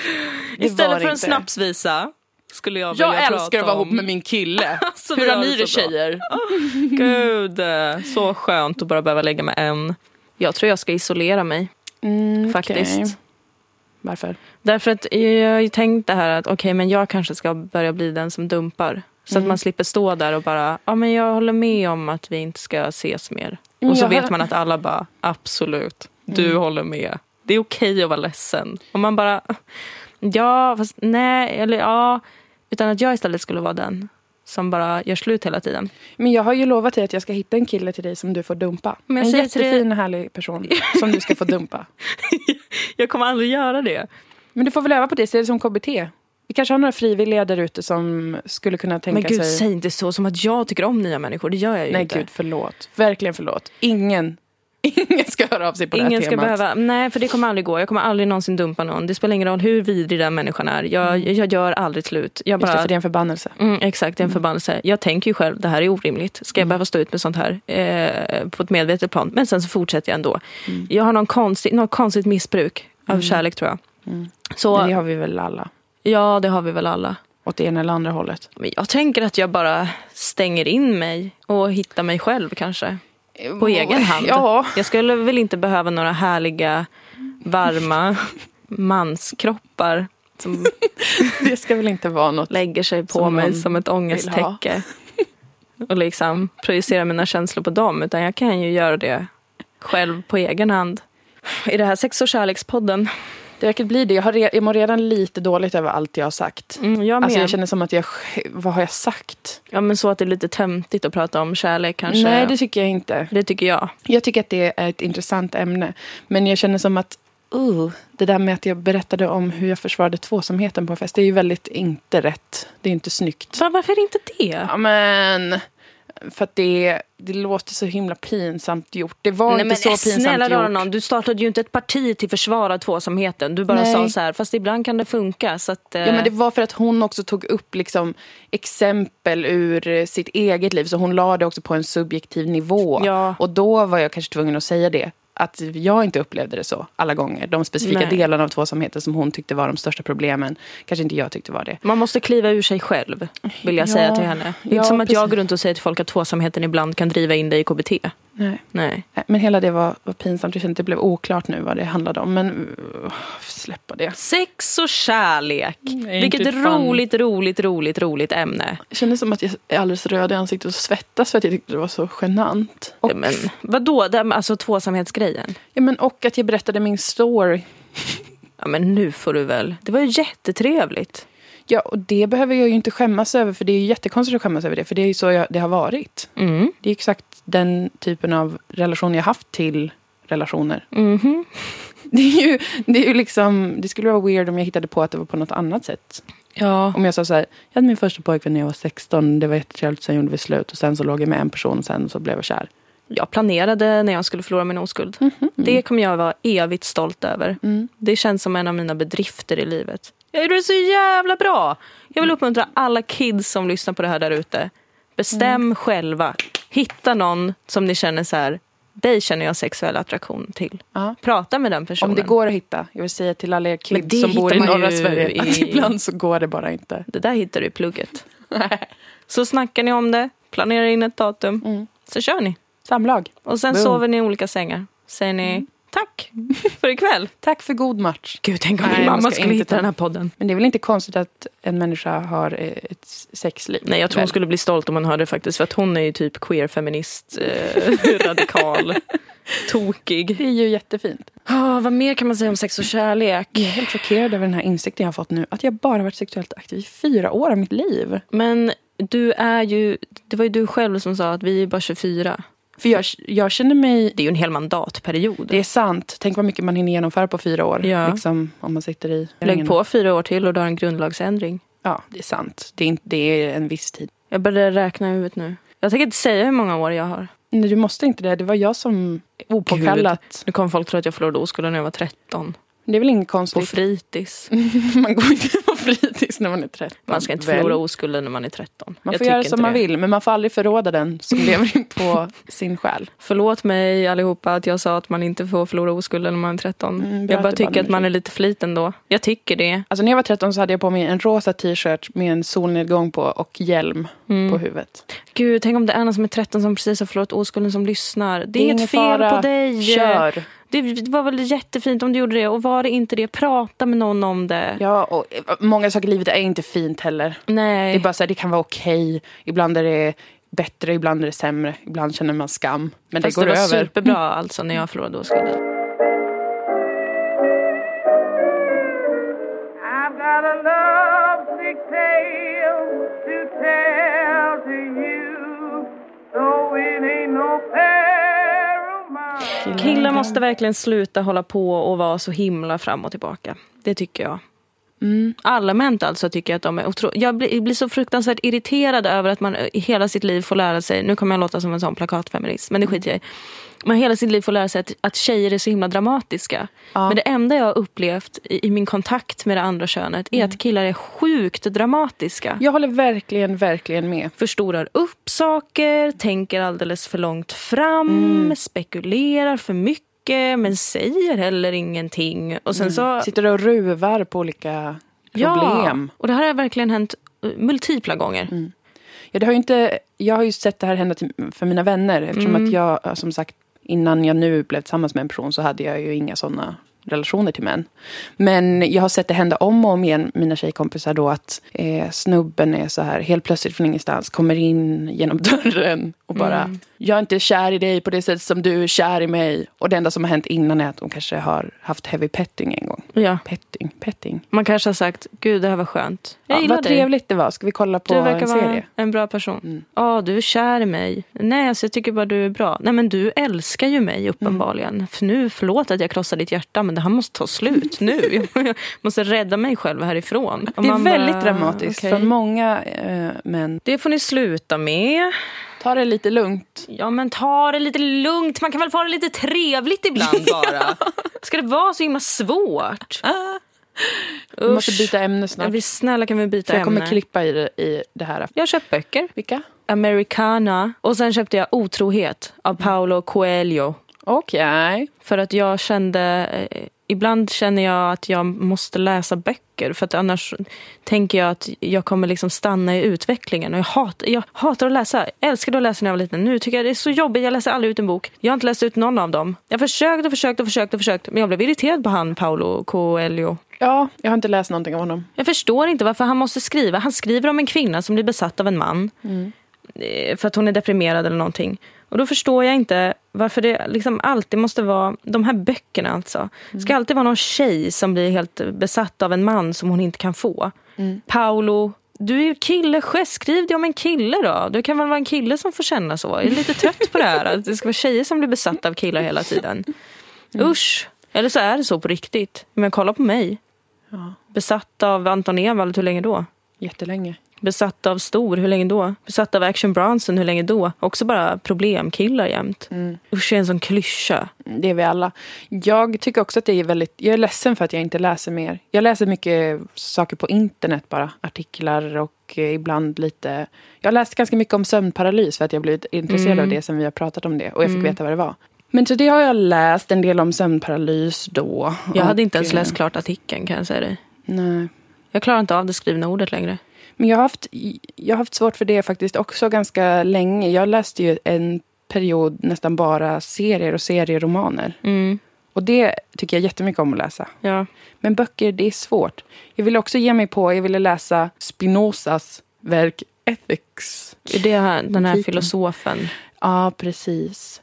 var Istället för en inte. snapsvisa skulle jag vilja Jag prata älskar att vara om. ihop med min kille. [LAUGHS] Alltså, vi Hur har har ni det det så bra. tjejer? Gud, eh, så skönt att bara behöva lägga med en. Jag tror jag ska isolera mig. Faktiskt. Mm, okej. Varför? Därför att jag har ju tänkt det här att okej, men jag kanske ska börja bli den som dumpar. Så att man slipper stå där och bara, ja men jag håller med om att vi inte ska ses mer. Men Och så jag vet har- man att alla bara, absolut, du håller med. Det är okej att vara ledsen. Och man bara, ja, fast nej, eller ja. Utan att jag istället skulle vara den som bara gör slut hela tiden. Men jag har ju lovat dig att jag ska hitta en kille till dig som du får dumpa. Men jag en säger till dig- jättefin härlig person som du ska [LAUGHS] få dumpa. Jag kommer aldrig göra det. Men du får väl öva på det, se det som KBT. Vi kanske har några frivilliga där ute som skulle kunna tänka Men gud, sig... säg inte så. Som att jag tycker om nya människor. Det gör jag ju Nej inte. gud, förlåt. Verkligen förlåt. Ingen, [LAUGHS] ingen ska höra av sig på det här Ingen ska temat. behöva, nej för det kommer aldrig gå. Jag kommer aldrig någonsin dumpa någon. Det spelar ingen roll hur vidrig den människan är. Jag, jag gör aldrig slut. Jag Mm. Just det, bara, för det är en förbannelse. Mm, exakt, det är en förbannelse. Jag tänker ju själv, det här är orimligt. Ska Mm. jag behöva stå ut med sånt här Mm. eh, på ett medvetet plan? Men sen så fortsätter jag ändå. Jag har någon konstig, något konstigt missbruk. Av kärlek tror jag. Så Mm. Men det har vi väl alla. ja, det har vi väl alla. Åt det ena eller andra hållet. Men jag tänker att jag bara stänger in mig och hittar mig själv kanske. På egen hand. Ja. Jag skulle väl inte behöva några härliga, [LAUGHS] varma manskroppar som Det ska väl inte vara något. lägger sig på Som mig någon som ett vill ångesttäcke. Och liksom projicerar mina känslor på dem. Utan jag kan ju göra det själv på egen hand. I det här sex och kärlekspodden. Det verkar bli det. Jag, har re, jag mår redan lite dåligt över allt jag har sagt. Mm, jag med. Alltså jag känner som att jag... sj- Vad har jag sagt? Ja men så att det är lite töntigt att prata om kärlek kanske. Nej, det tycker jag inte. det tycker jag. Jag tycker att det är ett intressant ämne. Men jag känner som att uh, det där med att jag berättade om hur jag försvarade tvåsamheten på en fest, det är ju väldigt inte rätt. Det är inte snyggt. Va, varför inte det? Ja, men... För att det, det låter så himla pinsamt gjort. Det var Nej, inte men eh, så pinsamt snälla rara gjort. någon, du startade ju inte ett parti till försvar av tvåsamheten. Du bara Nej. sa så här, fast ibland kan det funka. Så att, eh, Ja, men det var för att hon också tog upp liksom, exempel ur eh, sitt eget liv. Så hon la det också på en subjektiv nivå. Ja. Och då var jag kanske tvungen att säga det. Att jag inte upplevde det så alla gånger. De specifika Nej. delarna av tvåsamheten som hon tyckte var de största problemen. Kanske inte jag tyckte var det. Man måste kliva ur sig själv, vill jag Ja. säga till henne. Det är Ja, inte som att jag precis. går runt och säger till folk att tvåsamheten ibland kan driva in dig i KBT. Nej. Nej. Nej, Eh, Men hela det var, var pinsamt. Jag kände att det blev oklart nu vad det handlade om. Men uh, släppa det. Sex och kärlek. Nej, inte Mm. Vilket fan. roligt, roligt, roligt, roligt ämne. Jag kände som att jag är alldeles röd i ansiktet och svettas för att jag tyckte det var så genant. Och, Ja, Men, vadå, det här med, alltså tvåsamhetsgrejen? ja, men, och att jag berättade min story. Ja, men nu får du väl. Det var ju jättetrevligt. Ja, och det behöver jag ju inte skämmas över, för det är ju jättekonstigt att skämmas över det, för det är ju så jag, det har varit. Mm. Det är exakt den typen av relation jag haft till relationer. [LAUGHS] Mhm. Det är ju, det är ju liksom, det skulle vara weird om jag hittade på att det var på något annat sätt. Ja. Om jag sa så här, jag hade min första pojkvän när jag var 16, det var jättetrevligt, sen gjorde vi slut och sen så låg jag med en person och sen så blev jag kär. Jag planerade när jag skulle förlora min oskuld. Det kommer jag vara evigt stolt över. mm, Det känns som en av mina bedrifter i livet. Jag gjorde det så jävla bra! Jag vill uppmuntra alla kids som lyssnar på det här där ute. Bestäm själva. Hitta någon som ni känner så här, dig känner jag sexuell attraktion till. Ja. Prata med den personen. Om det går att hitta, jag vill säga till alla er Men det kids som bor i hittar man norra ju Sverige, att i- [LAUGHS] ibland så går det bara inte. Det där hittar du i plugget. så snackar ni om det, planerar in ett datum, så kör ni. Samlag. Och sen Boom. sover ni i olika sängar. Säger ni tack för ikväll. Tack för god match. Mm. Gud, tänk om Nej, min man mamma ska skulle inte hitta ta- den här podden. Men det är väl inte konstigt att en människa har eh, ett sexliv? Nej, jag tror hon Väl? skulle bli stolt om hon hörde det faktiskt. För att hon är ju typ queer, feminist, eh, [LAUGHS] radikal, tokig. Det är ju jättefint. Oh, vad mer kan man säga om sex och kärlek? Jag är helt chockerad över den här insikten jag har fått nu. Att jag bara varit sexuellt aktiv i fyra år av mitt liv. Men du är ju, det var ju du själv som sa att vi är bara 24. För jag, jag känner mig... Det är ju en hel mandatperiod. Det är sant. Tänk vad mycket man hinner genomföra på fyra år. Ja. Liksom, om man sitter i... Lägg på fyra år till och du har en grundlagsändring. Ja, det är sant. Det är, inte, det är en viss tid. Jag börjar räkna i huvudet nu. Jag tänker inte säga hur många år jag har. Nej, du måste inte det. Det var jag som opåkallat... Nu kommer folk tro att jag förlorade oskulden när jag var 13. Det är väl inget På konstigt. fritids. [LAUGHS] man går inte på fritids när man är 13. Man ska inte väl? förlora oskulden när man är 13. Man Jag får göra tycker som inte man det. vill, men man får aldrig förråda den [LAUGHS] som lever på sin själ. Förlåt mig allihopa att jag sa att man inte får förlora oskulden när man är 13. Mm, bra jag att bara du tycker bad om att man är lite flit ändå. Jag tycker det. Alltså när jag var 13 så hade jag på mig en rosa t-shirt med en solnedgång på och hjälm Mm. på huvudet. Gud, tänk om det är någon som är 13 som precis har förlorat oskulden som lyssnar. Det är, är ingen inget fel fara. på dig. Kör! Det var väl jättefint om du gjorde det. Och var det inte det, prata med någon om det. Ja, och eh, många saker i livet är inte fint heller. Nej. Det är bara så här, det kan vara okej. Ibland är det bättre, ibland är det sämre. Ibland känner man skam. Men Fast det går det var över. superbra alltså när jag förlorade oskulden. I've got a love sick tale to tell to you, though it ain't no fair of mine. Killar måste verkligen sluta hålla på och vara så himla fram och tillbaka. Det tycker jag. Allmänt alltså tycker jag att de är otro... Jag blir, jag blir så fruktansvärt irriterad över att man eh, i hela sitt liv får lära sig, nu kommer jag låta som en sån plakatfeminist, men det skiter jag i. Man hela sitt liv får lära sig att, att tjejer är så himla dramatiska. Men det enda jag har upplevt i, i min kontakt med det andra könet är att killar är sjukt dramatiska. Jag håller verkligen, verkligen med. förstorar Mm. upp saker, tänker alldeles för långt fram, spekulerar för mycket. mycket men säger heller ingenting. Och sen Mm. så... Sitter och ruvar på olika problem. Mm. Ja, och det här har verkligen hänt eh, multipla gånger. Ja, det har ju inte, jag har ju sett det här hända till, för mina vänner. Eftersom Mm. att jag, eh, som sagt, innan jag nu blev tillsammans med en person så hade jag ju inga sådana relationer till män. Men jag har sett det hända om och om igen, mina tjejkompisar då, att eh, snubben är så här helt plötsligt från ingenstans, kommer in genom [LAUGHS] dörren och bara, Mm. jag är inte kär i dig på det sätt som du är kär i mig. Och det enda som har hänt innan är att de kanske har haft heavy petting en gång. Ja. Petting, petting. Man kanske har sagt, gud det här var skönt. Jag Ja, gillar vad dig. trevligt det var, ska vi kolla på Du verkar en serie? Mm. vara en bra person. Ja, du är kär i mig. Nej, alltså, jag tycker bara du är bra. Nej, men du älskar ju Mm. mig uppenbarligen. För nu, förlåt att jag krossar ditt hjärta, men det här måste ta slut [LAUGHS] nu. jag måste rädda mig själv härifrån. Och Det är man väldigt bara, dramatiskt okej. från många eh, män. Det får ni sluta med. Ta det lite lugnt. Ja, men ta det lite lugnt. Man kan väl få ha det lite trevligt [LAUGHS] ibland bara. Ska det vara så himla svårt? Vi måste byta ämne Ja, snart. vi, snälla kan vi byta För jag kommer ämne? klippa i det, i det här. Jag har köpt böcker. Vilka? Americana. Och sen köpte jag Otrohet av Paolo Coelho. Okej. För att jag kände... Eh, ibland känner jag att jag måste läsa böcker. För att annars tänker jag att jag kommer liksom stanna i utvecklingen. Och jag, hat, jag hatar att läsa. Jag älskade att läsa när jag var liten. Nu tycker jag det är så jobbigt. Jag läser aldrig ut en bok. Jag har inte läst ut någon av dem. Jag försökte och försökte och försökte och försökte. Men jag blev irriterad på han Paolo Coelho. Ja, jag har inte läst någonting av honom. Jag förstår inte varför han måste skriva. Han skriver om en kvinna som blir besatt av en man. Eh, För att hon är deprimerad eller någonting. Och då förstår jag inte varför det liksom alltid måste vara, de här böckerna alltså. Det ska alltid vara någon tjej som blir helt besatt av en man som hon inte kan få. Paolo, du är ju kille själv. Skriv det om en kille då. Du kan väl vara en kille som får känna så. Jag är lite trött på det här. Att det ska vara tjejer som blir besatta av killar hela tiden. Usch! Eller så är det så på riktigt. Men kolla på mig. Besatt av Anton Ewald, hur länge då? Jättelänge. Besatt av Stor, hur länge då? Besatt av Action Bronson, hur länge då? Också bara problemkillar jämt. Mm. Usch, jag är en sån klyscha. Det är vi alla. Jag tycker också att det är väldigt... Jag är ledsen för att jag inte läser mer. Jag läser mycket saker på internet bara. Artiklar och eh, ibland lite... Jag har läst ganska mycket om sömnparalys för att jag blivit intresserad Mm. av det sen vi har pratat om det. Och jag fick veta vad det var. Men så det har jag läst en del om sömnparalys då. Jag hade inte Och, ens läst klart artikeln kan jag säga dig. eh, Nej. Jag klarar inte av det skrivna ordet längre. Men jag har, haft, jag har haft svårt för det faktiskt också ganska länge. Jag läste ju en period nästan bara serier och serieromaner. Mm. Och det tycker jag jättemycket om att läsa. Ja. Men böcker, det är svårt. Jag ville också ge mig på, jag ville läsa Spinozas verk Ethics. Det är det här, den här Kritiken. filosofen. Ja, precis.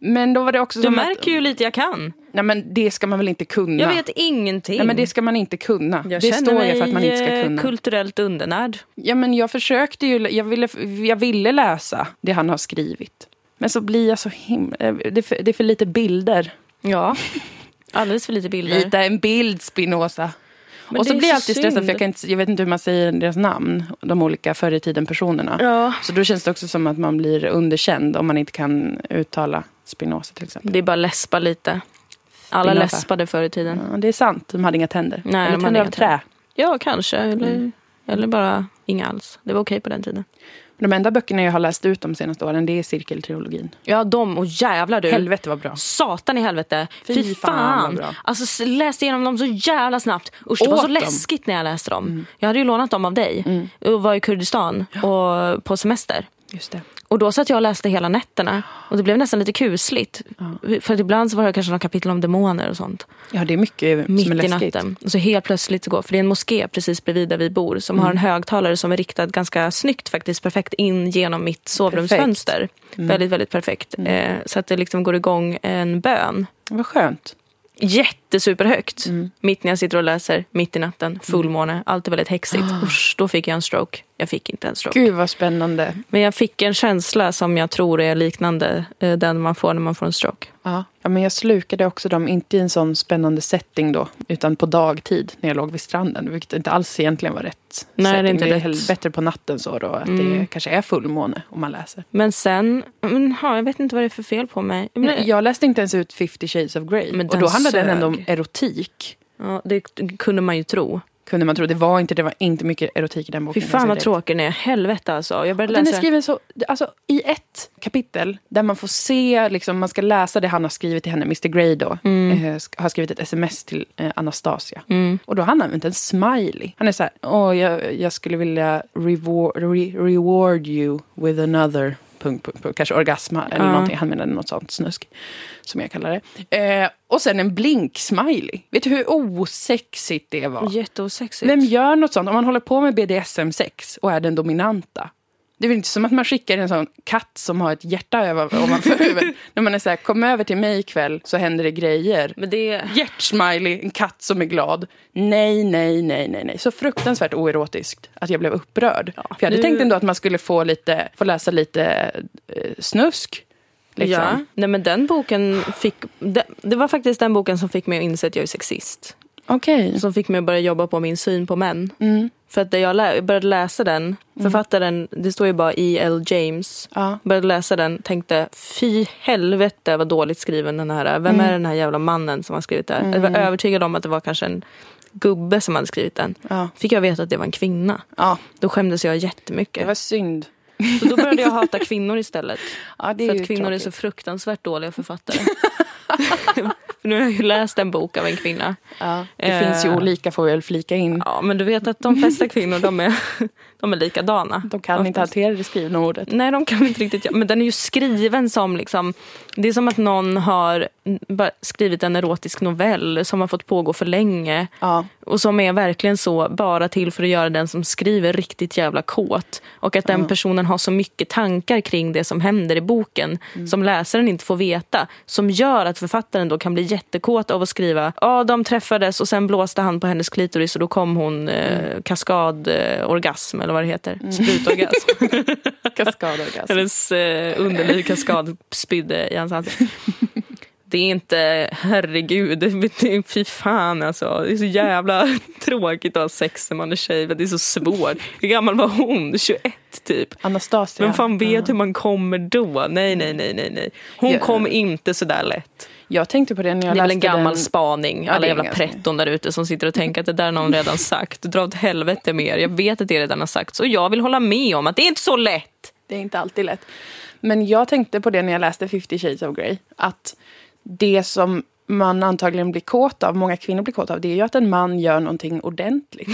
Men då var det också Du som märker att, ju lite jag kan. Nej, men det ska man väl inte kunna? Jag vet ingenting. Nej, men det ska man inte kunna. jag det känner står ju mig för att man inte ska eh, kunna. kulturellt undernärd. Ja, men jag försökte ju. Jag ville, jag ville läsa det han har skrivit. Men så blir jag så himla... eh, Det är för, det är för lite bilder. Ja. Alldeles för lite bilder. Rita en bild, Spinoza. Men och det så är blir så jag alltid stressad, synd. för jag, kan inte, jag vet inte hur man säger deras namn. De olika förr i tiden personerna. Ja. Så då känns det också som att man blir underkänd om man inte kan uttala Spinoza till exempel. Det är bara läspa lite. Alla Spinata. läspade förr i tiden. Ja, det är sant, de hade inga tänder. Nej, de Eller hade tänder av inga trä. Ja, kanske. Eller, eller bara inga alls. Det var okej på den tiden. De enda böckerna jag har läst ut de senaste åren, det är cirkeltriologin. Ja, de. Och jävlar du. Helvete vad bra. Satan i helvete. Fy, Fy fan. fan, vad bra. Alltså s- läste igenom dem så jävla snabbt. Usch, det var Åt så dem. läskigt när jag läste dem. Jag hade ju lånat dem av dig. Och var i Kurdistan och på semester. Just det. Och då satt jag och läste hela nätterna. Och det blev nästan lite kusligt. För att ibland så var det kanske några kapitel om demoner och sånt. Ja, det är mycket Mitt som är i läskigt. natten. Och så helt plötsligt så går, för det är en moské precis bredvid där vi bor som har en Mm. högtalare som är riktad ganska snyggt faktiskt, perfekt in genom mitt sovrumsfönster. Mm. Väldigt, väldigt perfekt. Eh, så att det liksom går igång en bön. Vad skönt. Jättesuperhögt. Mm. Mitt när jag sitter och läser, mitt i natten, fullmåne. Allt är väldigt häxigt. Usch, då fick jag en stroke. Jag fick inte en stroke. Ah. Gud vad spännande. Men jag fick en känsla som jag tror är liknande eh, den man får när man får en stroke. Ja. ja, men jag slukade också dem, inte i en sån spännande setting då, utan på dagtid när jag låg vid stranden, vilket inte alls egentligen var rätt Nej, det är setting. inte det är rätt. Mm. hell- bättre på natten så då, att det kanske är fullmåne om man läser. Men sen, men, ha, jag vet inte vad det är för fel på mig. Men- Jag läste inte ens ut 50 shades of Grey. Men och den då handlade den ändå om sög. erotik. Ja, det kunde man ju tro. kunde man tro. Det var inte, det var inte mycket erotik i den Fy boken. fan jag vad säger direkt. tråkig den är. Helvete alltså. Jag började Den är läsa skriven så, alltså, i ett kapitel där man får se, liksom, man ska läsa det han har skrivit till henne, Mr Grey då, Mm. eh, sk- har skrivit ett sms till eh, Anastasia. Och då har han använt en smiley. Han är så här, åh jag, jag skulle vilja reward, re, reward you with another, punkt, punkt, punkt. kanske orgasma eller någonting. Han menade något sånt snusk, som jag kallar det. Eh, och sen en blink-smiley. Vet du hur osexigt det var? jätteosexigt. Vem gör något sånt? Om man håller på med BDSM-sex och är den dominanta. Det är väl inte som att man skickar en sån katt som har ett hjärta över- ovanför [LAUGHS] huvudet. När man är så här, kom över till mig ikväll så händer det grejer. Men det... Hjärtsmiley, en katt som är glad. Nej, nej, nej, nej, nej. Så fruktansvärt oerotiskt att jag blev upprörd. För jag hade nu- tänkt ändå att man skulle få, lite, få läsa lite eh, snusk. Liksom. Ja. Nej men den boken fick... Det, det var faktiskt den boken som fick mig att inse att jag är sexist. Okej. Som fick mig att börja jobba på min syn på män. Mm. För att när jag lä- började läsa den, författaren, det står ju bara E.L. James. Ja. Började läsa den, tänkte fy helvete vad dåligt skriven den här är. Vem är Mm. den här jävla mannen som har skrivit det här? Jag var övertygad om att det var kanske en gubbe som hade skrivit den. Ja. Fick jag veta att det var en kvinna. ja, Då skämdes jag det jättemycket. var synd. Så då började jag hata kvinnor istället. Ja, det är För ju att kvinnor tråkigt. är så fruktansvärt dåliga författare. [LAUGHS] för nu har jag ju läst en bok av en kvinna. Ja, det Eh. finns ju olika får vi väl flika in. Ja, men du vet att de flesta kvinnor de är, de är likadana. De kan inte Oftast. hantera det [LAUGHS] skrivna ordet. Nej, de kan inte riktigt göra. Men den är ju skriven som liksom... Det är som att någon har bara skrivit en erotisk novell som har fått pågå för länge. Ja. Och som är verkligen så bara till för att göra den som skriver riktigt jävla kåt. Och att den personen har så mycket tankar kring det som händer i boken som läsaren inte får veta. Som gör att författaren då kan bli jättekåt av att skriva ja de träffades och sen blåste han på hennes klitoris och då kom hon eh, kaskadorgasm eller vad det heter. Sprutorgasm. Kaskadorgasm. hennes eh, underliv kaskad spydde i hans ansikte. Det är inte, herregud, det är, fy fan alltså. Det är så jävla tråkigt att ha sex när man är tjej. men Det är så svårt. Hur gammal var hon? 21 typ. Anastasia. Men fan vet hur man kommer då? Nej, nej, nej, nej. nej. Hon Ja. kom inte sådär lätt. Jag tänkte på det när jag Det är väl läste en gammal den. spaning. Ja, det Alla är jävla en ganska- pretton där ute som sitter och tänker att det där har någon redan sagt. Dra åt helvete med er. Jag vet att det redan har sagts. Och jag vill hålla med om att det är inte så lätt. Det är inte alltid lätt. Men jag tänkte på det när jag läste 50 shades of Grey. Att det som man antagligen blir kåt av, många kvinnor blir kåt av, det är ju att en man gör [LAUGHS] någonting ordentligt.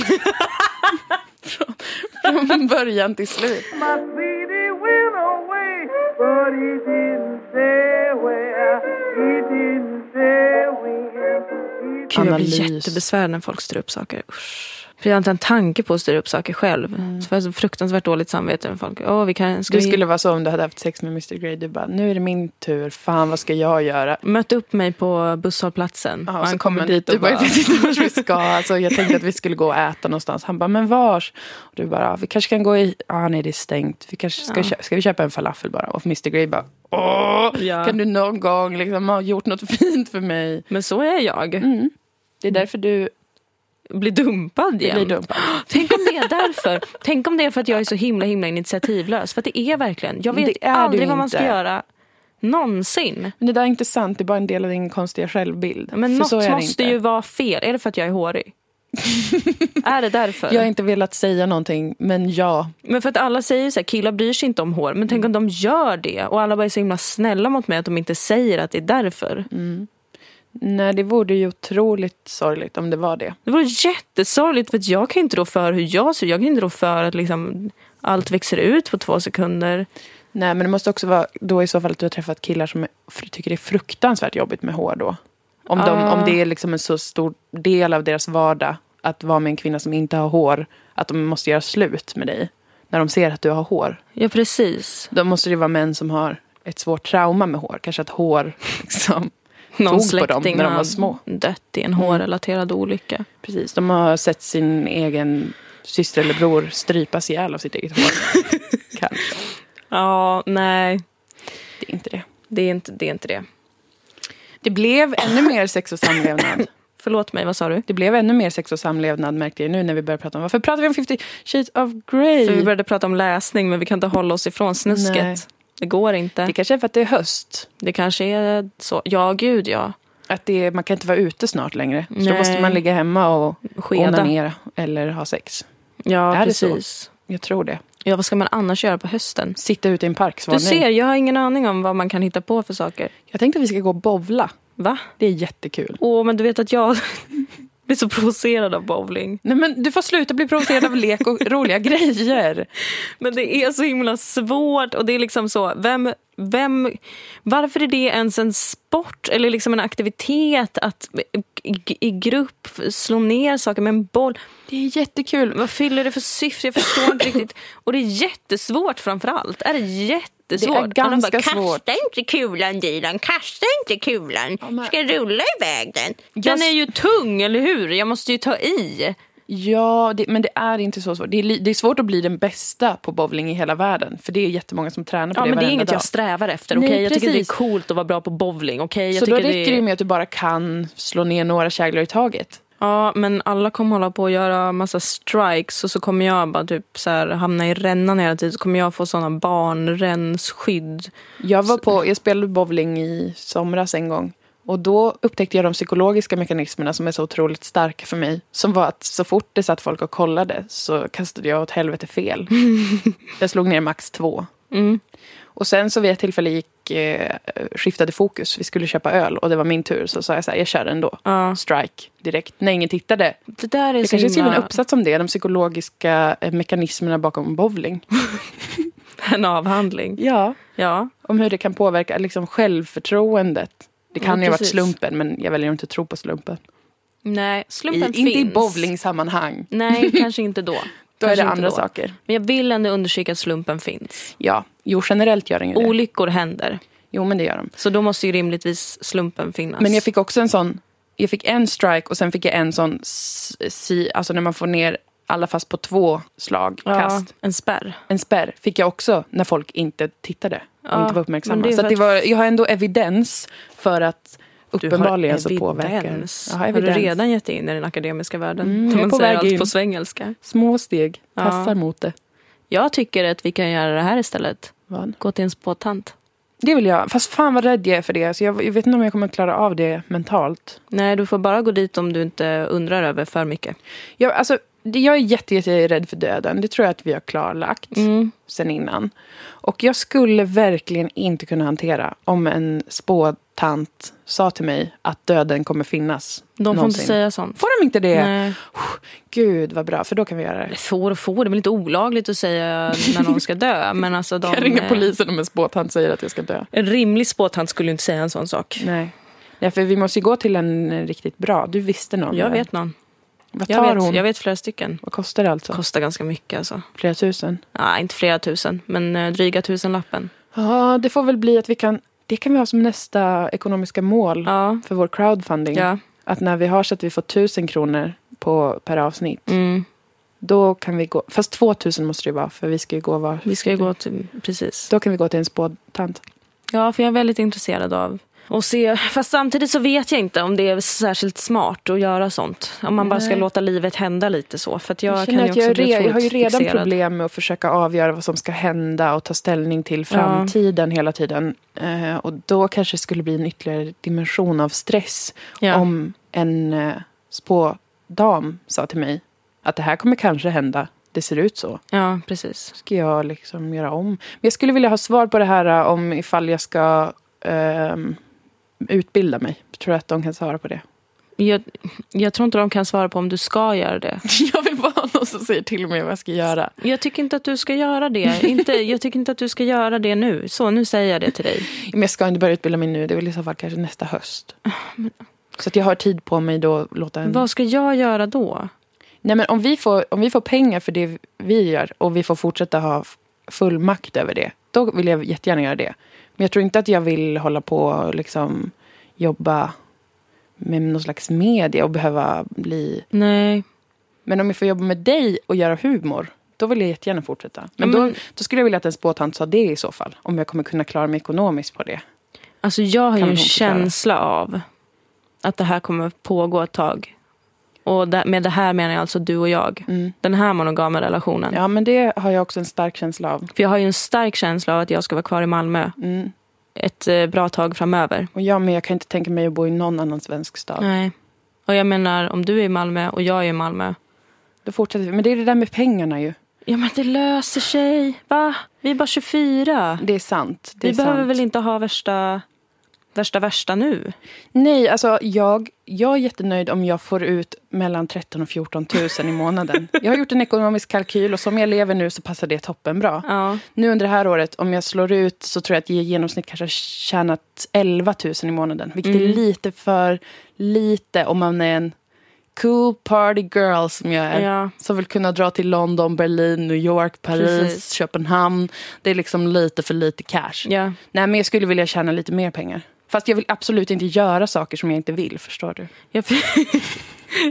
Från- Från början till slut. My sweetie went away, but he didn't say where. He didn't say when. He Gud, jag blir Analys. jättebesvärd när folk styr upp saker. Usch. För jag har inte en tanke på att styra upp saker själv. Så får jag så fruktansvärt dåligt samvete med folk. Åh, vi kan, ska Mm. Du vi skulle vara så om du hade haft sex med Mr Grey. Du bara, nu är det min tur. Fan, vad ska jag göra? Möt upp mig på busshållplatsen. Ja, Och och så han kom han dit och bara, jag vet inte [LAUGHS] vart vi ska. Alltså, jag tänkte att vi skulle gå och äta någonstans. Han bara, men vars? Och du bara, "Ah, vi kanske kan gå i... Ah, nej, det är stängt. Vi kanske ska, köpa, ska vi köpa en falafel bara? Och Mr Grey bara, [LAUGHS] åh, Ja. kan du någon gång liksom ha gjort något [LAUGHS] fint för mig? Men så är jag. Mm. Det är därför du Blir dumpad igen. blir dumpad. [LAUGHS] Tänk om det är därför. Tänk om det är för att jag är så himla himla initiativlös. För att det är verkligen. Jag vet Det är du aldrig vad man ska inte. göra. Någonsin. Men det där är inte sant, det är bara en del av din konstiga självbild. Men För så är något det måste inte. ju vara fel. Är det för att jag är hårig? [LAUGHS] är det därför? Jag har inte velat säga någonting, men ja. Men för att alla säger så här, killar bryr sig inte om hår. Men tänk om de gör det och alla bara är så himla snälla mot mig att de inte säger att det är därför. Mm. Nej, det vore ju otroligt sorgligt om det var det. Det vore jättesorgligt för att jag kan ju inte rå för hur jag ser ut. Jag kan ju inte rå för att liksom allt växer ut på två sekunder. Nej, men det måste också vara då i så fall att du har träffat killar som är, fr- tycker det är fruktansvärt jobbigt med hår då. Om, de, Ah. om det är liksom en så stor del av deras vardag att vara med en kvinna som inte har hår, att de måste göra slut med dig när de ser att du har hår. Ja precis. Då måste det vara män som har ett svårt trauma med hår. Kanske att hår [LAUGHS] liksom... Någon Tog på dem släkting när de har var små. Mm. dött i en hårrelaterad olycka. Precis, de har sett sin egen syster eller bror strypas ihjäl av sitt eget hår. Kanske. Ja, nej. Det är inte det. Det är inte det. Är inte det. Det blev ännu mer sex och samlevnad. Förlåt mig, vad sa du? Det blev ännu mer sex och samlevnad märkte jag nu när vi började prata om varför pratar vi om 50 shades of grey? För vi började prata om läsning men vi kan inte hålla oss ifrån snusket. Nej. Det går inte. Det kanske är för att det är höst. Det kanske är så. Ja, gud ja. Att det, är- man kan inte vara ute snart längre. Så Nej. då måste man ligga hemma och Skeda. onanera eller ha sex. Ja, Är det så? precis. Jag tror det. Ja, vad ska man annars göra på hösten? Sitta ute i en park, Du Svanen. ser, jag har ingen aning om vad man kan hitta på för saker. Jag tänkte att vi ska gå och bovla. Va? Det är jättekul. Åh, men du vet att jag [LAUGHS] blir så provocerad av bowling. Nej, men du får sluta bli provocerad av [LAUGHS] lek och roliga grejer. Men det är så himla svårt och det är liksom så, vem, vem, varför är det ens en sport eller liksom en aktivitet att i, i grupp slå ner saker med en boll? Det är jättekul. Vad fyller det för syfte? Jag förstår inte riktigt. Och det är jättesvårt framför allt. Är det jättesvårt? Det är Och de ganska bara, svårt. Kasta inte kulan Dilan, kasta inte kulan. men- Ska rulla iväg den. Den är ju tung, eller hur? Jag måste ju ta i. Ja, det, men det är inte så svårt. Det är, li- det är svårt att bli den bästa på bowling i hela världen. För det är jättemånga som tränar på Ja, det men det är varenda inget dag. jag strävar efter. Nej, Okej, jag tycker det är precis. coolt att vara bra på bowling. Okej, jag Så då tycker räcker det det är... med att du bara kan slå ner några käglor i taget. Ja, men alla kommer hålla på och göra massa strikes och så kommer jag bara typ så här, hamna i rännan hela tiden. Så kommer jag få såna barnränsskydd. Jag, var på, jag spelade bowling i somras en gång. Och då upptäckte jag de psykologiska mekanismerna som är så otroligt starka för mig. Som var att så fort det satt folk och kollade så kastade jag åt helvete [LAUGHS] fel. jag slog ner max två. Och sen så vid ett tillfälle gick, eh, skiftade fokus. Vi skulle köpa öl och det var min tur. Så sa jag så här, jag kör ändå. Ja. Strike direkt. Nej, ingen tittade. Det där är Jag så kanske skriver en himla... uppsats om det. De psykologiska eh, mekanismerna bakom bowling. En avhandling. Ja. Ja. Om hur det kan påverka liksom självförtroendet. Det kan Ja, ju ha varit precis. slumpen, men jag väljer att inte tro på slumpen. Nej, I, slumpen finns. inte i bowlingsammanhang. [LAUGHS] Nej, kanske inte då. Då är Kanske det inte andra då. saker. Men jag vill ändå understryka att slumpen finns. Ja, jo generellt gör den ju det. Olyckor händer. Jo, men det gör de. Så då måste ju rimligtvis slumpen finnas. Men jag fick också en sån, jag fick en strike och sen fick jag en sån, s- si, alltså när man får ner alla fast på två slag, ja, kast. en spärr. En spärr fick jag också när folk inte tittade och Ja, inte var men uppmärksamma. det är Så att för det att- var, jag har ändå evidens för att uppenbarligen så påverkar evidens. Jag Har, har du evidens. redan gett dig in i den akademiska världen? Mm, jag Mm, är man på säger väg allt in. på svengelska. Små steg, Ja. tassar mot det. Jag tycker att vi kan göra det här istället. Vad? Gå till en spåtant. Det vill jag. Fast fan vad rädd jag är för det. Så jag, jag vet inte om jag kommer klara av det mentalt. Nej, du får bara gå dit om du inte undrar över för mycket. Jag, alltså, det- jag är jätte, jätte rädd för döden. Det tror jag att vi har klarlagt Mm. sen innan. Och jag skulle verkligen inte kunna hantera om en spåtant sa till mig att döden kommer finnas. De får någonsin. inte säga sånt. Får de inte det? Nej. Gud vad bra, för då kan vi göra det. Får och får, det är väl inte olagligt att säga när någon ska [LAUGHS] dö. Men alltså de, Jag ringer eh, polisen om en spåtant säger att jag ska dö. En rimlig spåtant skulle ju inte säga en sån sak. Nej. Nej, för vi måste ju gå till en eh, riktigt bra. Du visste någon. Jag där. vet någon. Vad tar Jag vet, hon? jag vet flera stycken. Vad kostar det alltså? Kostar ganska mycket alltså. Flera tusen? Nej, inte flera tusen, men eh, dryga tusenlappen. Ja, det får väl bli att vi kan... Det kan vi ha som nästa ekonomiska mål Ja. för vår crowdfunding. Ja. Att när vi har så att vi får tusen kronor på, per avsnitt, Mm. då kan vi gå... Fast två tusen måste det ju vara, för vi ska ju gå var... Vi ska ju gå till... Precis. Då kan vi gå till en spådtant. Ja, för jag är väldigt intresserad av att se. Fast samtidigt så vet jag inte om det är särskilt smart att göra sånt. Om man bara ska Nej. låta livet hända lite så. För att jag, Jag, kan ju känner att också jag, är bli re, jag har ju otroligt redan fixerad. problem med att försöka avgöra vad som ska hända och ta ställning till framtiden hela tiden. Eh, och då kanske det skulle bli en ytterligare dimension av stress Ja. om en eh, spådam sa till mig att det här kommer kanske hända. Det ser ut så. Ja, precis. ska jag liksom göra om. Men jag skulle vilja ha svar på det här eh, om ifall jag ska ehm, utbilda mig. Tror du att de kan [LAUGHS] svara på det? Jag, jag tror inte de kan svara på om du ska göra det. Jag vill bara ha någon som säger till mig vad jag ska göra. Jag tycker inte att du ska göra [LAUGHS] det. Inte, jag tycker inte att du ska göra det nu. Så, nu säger jag det till dig. Men jag ska inte börja utbilda mig nu. Det är väl i så fall kanske nästa höst. Så att jag har tid på mig då att låta en... Ah, Vad ska jag göra då? Nej, men om, vi får, om vi får pengar för det vi gör och vi får fortsätta ha f- full makt över det, då vill jag jättegärna göra det. Men jag tror inte att jag vill hålla på och liksom jobba med någon slags media och behöva bli... Nej. Men om jag får jobba med dig och göra humor, då vill jag jättegärna fortsätta. Men, Ja, men- Då, då skulle jag vilja att en spåtant sa det i så fall. Om jag kommer kunna klara mig ekonomiskt på det. Alltså jag har ju Kan en hon förklara? känsla av att det här kommer pågå ett tag. Och det, med det här menar jag alltså du och jag. Mm. Den här monogama relationen. Ja, men det har jag också en stark känsla av. Mm. För jag har ju en stark känsla av att jag ska vara kvar i Malmö. ett eh, bra tag framöver. Och jag med, jag kan inte tänka mig att bo i någon annan svensk stad. Nej. Och jag menar, om du är i Malmö och jag är i Malmö. Då fortsätter vi. Men det är det där med pengarna ju. Ja men det löser sig. Va? Vi är bara 24. Det är sant. Det Vi är behöver sant. väl inte ha värsta, värsta, värsta nu? Nej, alltså jag, jag är jättenöjd om jag får ut mellan 13 000 och 14 000 [LAUGHS] i månaden. Jag har gjort en ekonomisk kalkyl och som jag lever nu så passar det toppen bra. Ja. Nu under det här året, om jag slår ut så tror jag att jag i genomsnitt kanske har tjänat 11 000 i månaden. Vilket Mm. är lite för lite om man är en cool party girl som jag är. Ja. Som vill kunna dra till London, Berlin, New York, Paris, Precis. Köpenhamn. Det är liksom lite för lite cash. Ja. Nej, men jag skulle vilja tjäna lite mer pengar. Fast jag vill absolut inte göra saker som jag inte vill, förstår du? Jag, [LAUGHS]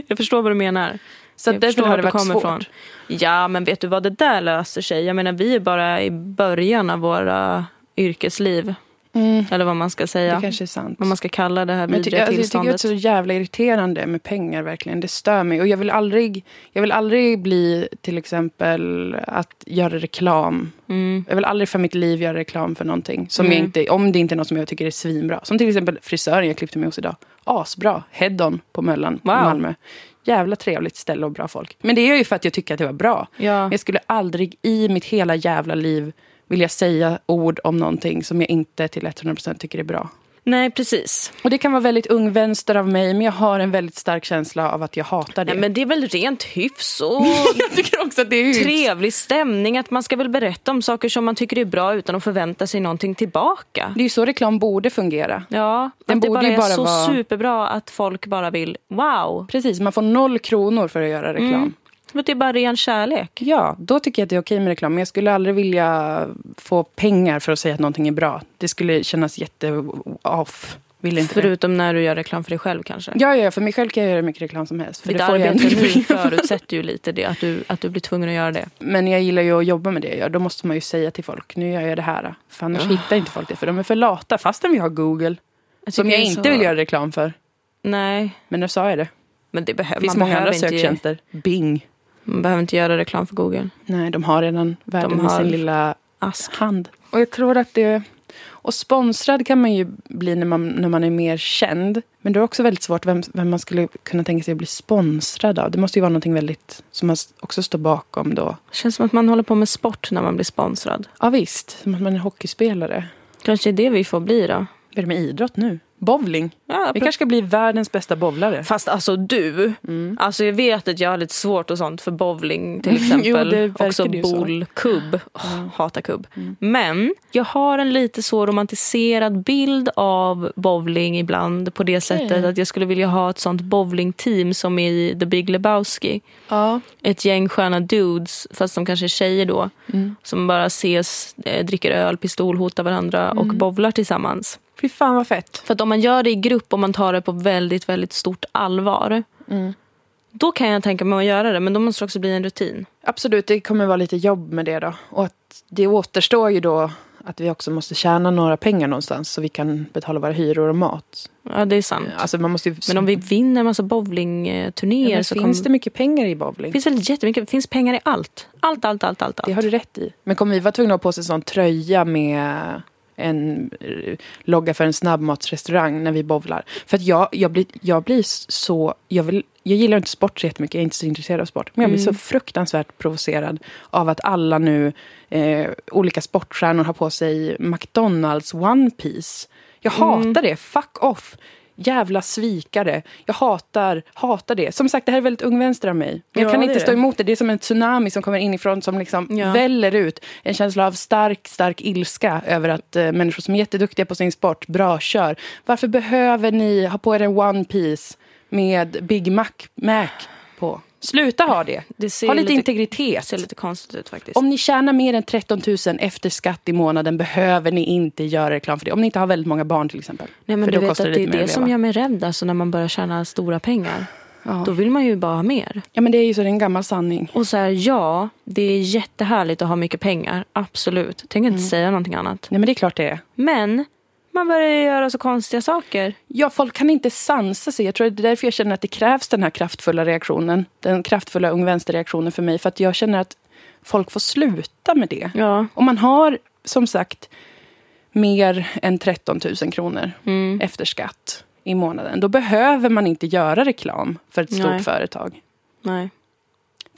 jag förstår vad du menar. Så jag därför förstår har var det du varit kommer ifrån. svårt. Ja, men vet du vad? Det där löser sig. Jag menar, vi är bara i början av våra yrkesliv. Eller vad man ska Mm. Det säga. kanske är sant. Vad man ska kalla det här Men jag, tycker, vidriga alltså, jag tycker det är tillståndet. så jävla irriterande med pengar verkligen. Det stör mig. Och jag vill aldrig, jag vill aldrig bli till exempel att göra reklam. Jag vill aldrig för mitt liv göra reklam för någonting. Som jag inte, om det inte är något som jag tycker är svinbra. Som till exempel frisören jag klippte mig hos idag. Asbra. Head-on på Möllan i Wow. Malmö. Jävla trevligt ställe och bra folk. Men det är ju för att jag tycker att det var bra. Ja. Men Jag skulle aldrig i mitt hela jävla liv vilja säga ord om någonting som jag inte till 100% tycker är bra. Nej, precis. Och det kan vara väldigt ung vänster av mig, men jag har en väldigt stark känsla av att jag hatar det. Nej, men det är väl rent hyfs [LAUGHS] och jag tycker också att det är hyfs. trevlig stämning. Att man ska väl berätta om saker som man tycker är bra utan att förvänta sig någonting tillbaka. Det är ju så reklam borde fungera. Ja, Den att det borde bara ju är bara så vara- superbra att folk bara vill wow. Precis, man får noll kronor för att göra reklam. För att det är bara ren kärlek. Ja, då tycker jag att det är okej med reklam. Men jag skulle aldrig vilja få pengar för att säga att någonting är bra. Det skulle kännas jätte-off. Vill inte det. Förutom när du gör reklam för dig själv kanske. Ja, ja, för mig själv kan jag göra hur mycket reklam som helst. För Ditt det får jag ändå arbete nu inte pengar [LAUGHS] för. förutsätter ju lite det, att du, att du blir tvungen att göra det. Men jag gillar ju att jobba med det jag gör. Då måste man ju säga till folk, nu gör jag det här. För annars hittar inte folk det, för de är för lata. Fastän vi har Google. Som tycker jag det är inte så- vill göra reklam för. Nej, Men nu sa jag det. men det behöver Det finns man många andra behöver inte, ge- söktjänster. Bing. Man behöver inte göra reklam för Google. Nej, de har redan världen i har- sin lilla Ask. hand. Och jag tror att det... Och sponsrad kan man ju bli när man, när man är mer känd. Men det är också väldigt svårt vem, vem man skulle kunna tänka sig att bli sponsrad av. Det måste ju vara någonting väldigt som man s- också står bakom då. Känns som att man håller på med sport när man blir sponsrad. Ja visst, som att man är hockeyspelare. Kanske är det vi får bli då. Vad är det med idrott nu? Bowling. Ja, Vi kanske ska bli världens bästa bowlare. Fast alltså du, alltså jag vet att jag har lite svårt och sånt för bowling till [LAUGHS] exempel. Jo, det verkar Också det ju så. boll, kubb. Åh, Hatar kubb. Men Mm. jag har en lite så romantiserad bild av bowling ibland på det sättet att jag skulle vilja ha ett sånt bowlingteam som är i The Big Lebowski. Ja. Ett gäng sköna dudes, fast de kanske är tjejer då, som bara ses, eh, dricker öl, pistolhotar varandra och bowlar tillsammans. Fy fan vad fett. För att om man gör det i grupp och man tar det på väldigt, väldigt stort allvar. Mm. Då kan jag tänka mig att göra det, men då måste det också bli en rutin. Absolut, det kommer vara lite jobb med det då. Och att det återstår ju då att vi också måste tjäna några pengar någonstans så vi kan betala våra hyror och mat. Ja, det är sant. Alltså man måste ju... Men om vi vinner en massa Ja, bowlingturnéer men så finns kommer... det mycket pengar i Det bowling? finns väl jättemycket, det finns pengar i allt. Allt, allt, allt, allt. Det allt. har du rätt i. Men kommer vi vara tvungna att ha på oss en sån tröja med en eh, logga för en snabbmatsrestaurang när vi bowlar? För att jag, jag, blir, jag blir så... Jag, vill, jag gillar inte sport så jättemycket, jag är inte så intresserad av sport. Men jag blir så fruktansvärt provocerad av att alla nu, eh, olika sportstjärnor har på sig McDonalds One Piece. Jag hatar det, fuck off! Jävla svikare. Jag hatar, hatar det. Som sagt, det här är väldigt ung vänster av mig. Jag Ja, kan det inte är stå det. emot det. Det är som en tsunami som kommer inifrån som liksom Ja. väller ut. En känsla av stark, stark ilska över att eh, människor som är jätteduktiga på sin sport, bra, kör. Varför behöver ni ha på er en One Piece med Big Mac, Mac på? Sluta ha det. Det ser ha lite, lite- integritet. ser lite konstigt ut faktiskt. Om ni tjänar mer än 13 000 efter skatt i månaden behöver ni inte göra reklam för det. Om ni inte har väldigt många barn till exempel. Nej, men för du då vet att kostar det är lite mer det att som leva. gör mig rädd, alltså när man börjar tjäna stora pengar. Då vill man ju bara ha mer. Ja men det är ju så, det är en gammal sanning. Och så här, ja, det är jättehärligt att ha mycket pengar. Absolut. Tänker Mm. inte säga någonting annat. Nej men det är klart det är. Men man börjar ju göra så konstiga saker. Ja, folk kan inte sansa sig. Jag tror att det är därför jag känner att det krävs den här kraftfulla reaktionen. Den kraftfulla ung vänsterreaktionen för mig. För att jag känner att folk får sluta med det. Ja. Om man har, som sagt, mer än 13 000 kronor mm, efter skatt i månaden. Då behöver man inte göra reklam för ett stort Nej. företag. Nej.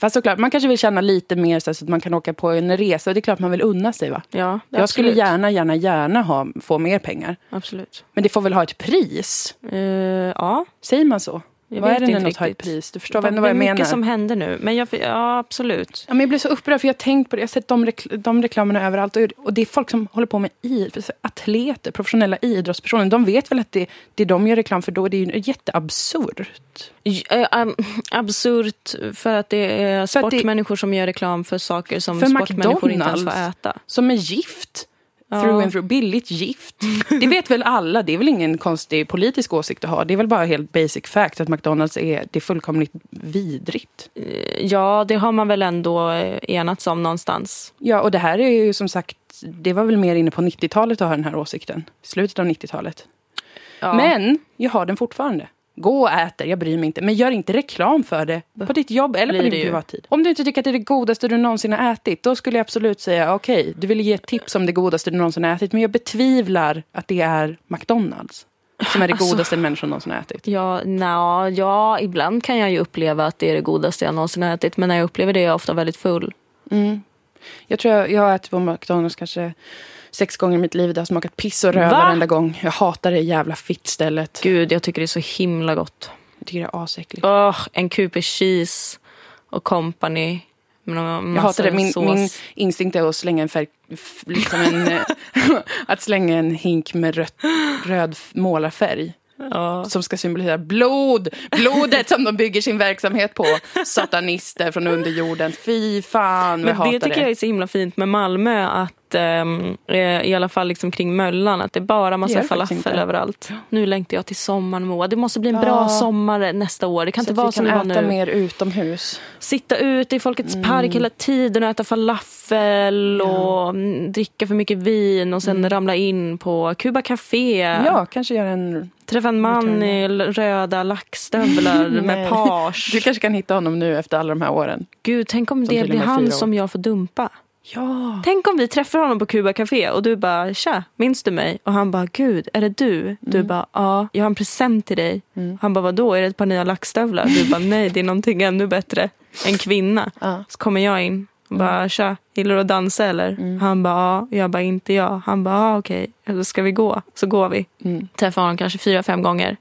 Fast såklart, man kanske vill tjäna lite mer så här så att man kan åka på en resa. Och det är klart man vill unna sig. va? Ja, Jag skulle absolut. gärna, gärna, gärna ha, få mer pengar. Absolut. Men det får väl ha ett pris? Eh, ja, Säger man så? jag vad vet är det inte när något har ett riktigt. pris? Du förstår Det väl ändå vad jag är menar? mycket som händer nu. Men jag, ja, absolut. Ja, men jag blir så upprörd, för jag har tänkt på det. Jag har sett de, rekl- de reklamerna överallt. Och, och det är folk som håller på med idrott, atleter, professionella idrottspersoner. De vet väl att det, det de gör reklam för då, det är ju jätteabsurt. J- eh, am- Absurt för att det är För att det- sportmänniskor som gör reklam för saker som För sportmänniskor inte ens får McDonald's. äta. Som är gift. Ja. Through and through. Billigt gift. Det vet väl alla. Det är väl ingen konstig politisk åsikt att ha. Det är väl bara helt basic fact att McDonalds är, det är fullkomligt vidrigt. Eh, Ja, det har man väl ändå eh, enats om någonstans. Ja, och det här är ju som sagt, det var väl mer inne på 90-talet att ha den här åsikten. Slutet av 90-talet. Ja. Men jag har den fortfarande. Gå och ät det, jag bryr mig inte. Men gör inte reklam för det på ditt jobb eller på Blir din det ju. privattid. Om du inte tycker att det är det godaste du någonsin har ätit, då skulle jag absolut säga okej, du vill ge ett tips om det godaste du någonsin har ätit, men jag betvivlar att det är McDonalds som är det Alltså. godaste människan någonsin har ätit. Ja, na, ja, ibland kan jag ju uppleva att det är det godaste jag någonsin har ätit. Men när jag upplever det är jag ofta väldigt full. Jag tror jag, jag har ätit på McDonalds kanske sex gånger i mitt liv. Det har smakat piss och röv Va? varenda gång. Jag hatar det jävla fittstället. Gud, jag tycker det är så himla gott. Jag tycker det är asäckligt. Åh, en Cooper cheese och company. Jag hatar det. Min, min instinkt är att slänga en färg... f- Liksom [LAUGHS] en, eh, att slänga en hink med rött, röd f- målarfärg. Som ska symbolisera blod! Blodet som de bygger sin verksamhet på. Satanister från underjorden. Fy fan, vad Men jag hatar det tycker jag är så himla fint med Malmö. Att, ehm, eh, I alla fall liksom kring Möllan. Att det är bara Det massa är det faktiskt falafel inte. överallt. Nu längtar jag till sommaren Moa. Det måste bli en bra sommar nästa år. Det kan Så inte vara att som vi det var kan äta nu. mer Mm. utomhus. Sitta ute i Folkets park hela tiden och äta falafel och mm, dricka för mycket vin och sen ramla in på Cuba Café. Mm. Ja, kanske göra en... Träffa en man i l- röda [LAUGHS] lackstövlar med Nej. page. Du kanske kan hitta honom nu efter alla de här åren. Gud, tänk om det tydligen blir är fyra han år. som jag får dumpa. Ja. Tänk om vi träffar honom på Cuba Café och du bara tja, minns du mig? Och han bara gud, är det du? Du bara ja, jag har en present till dig. Han bara vadå, är det ett par nya lackstövlar? Du bara nej, det är någonting ännu bättre. En kvinna. Ja. Så kommer jag in och bara tja, gillar du att dansa eller? Han bara ja, jag bara inte jag. Han bara ja, okej, Eller ska vi gå? Så går vi. Träffar honom kanske fyra, fem gånger.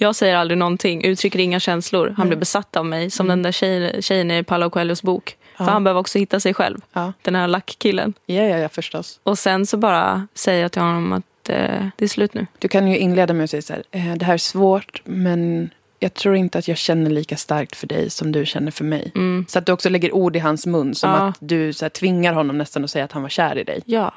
Jag säger aldrig någonting, uttrycker inga känslor. Han blir besatt av mig, som den där tjejen, tjejen i Paolo Coelhos bok. För han behöver också hitta sig själv, Ja. den här lackkillen. Ja, ja, ja, förstås. Och sen så bara säger jag till honom att eh, det är slut nu. Du kan ju inleda med att säga så här, eh, det här är svårt, men jag tror inte att jag känner lika starkt för dig som du känner för mig. Mm. Så att du också lägger ord i hans mun, som Ja. att du så här, tvingar honom nästan att säga att han var kär i dig. Ja,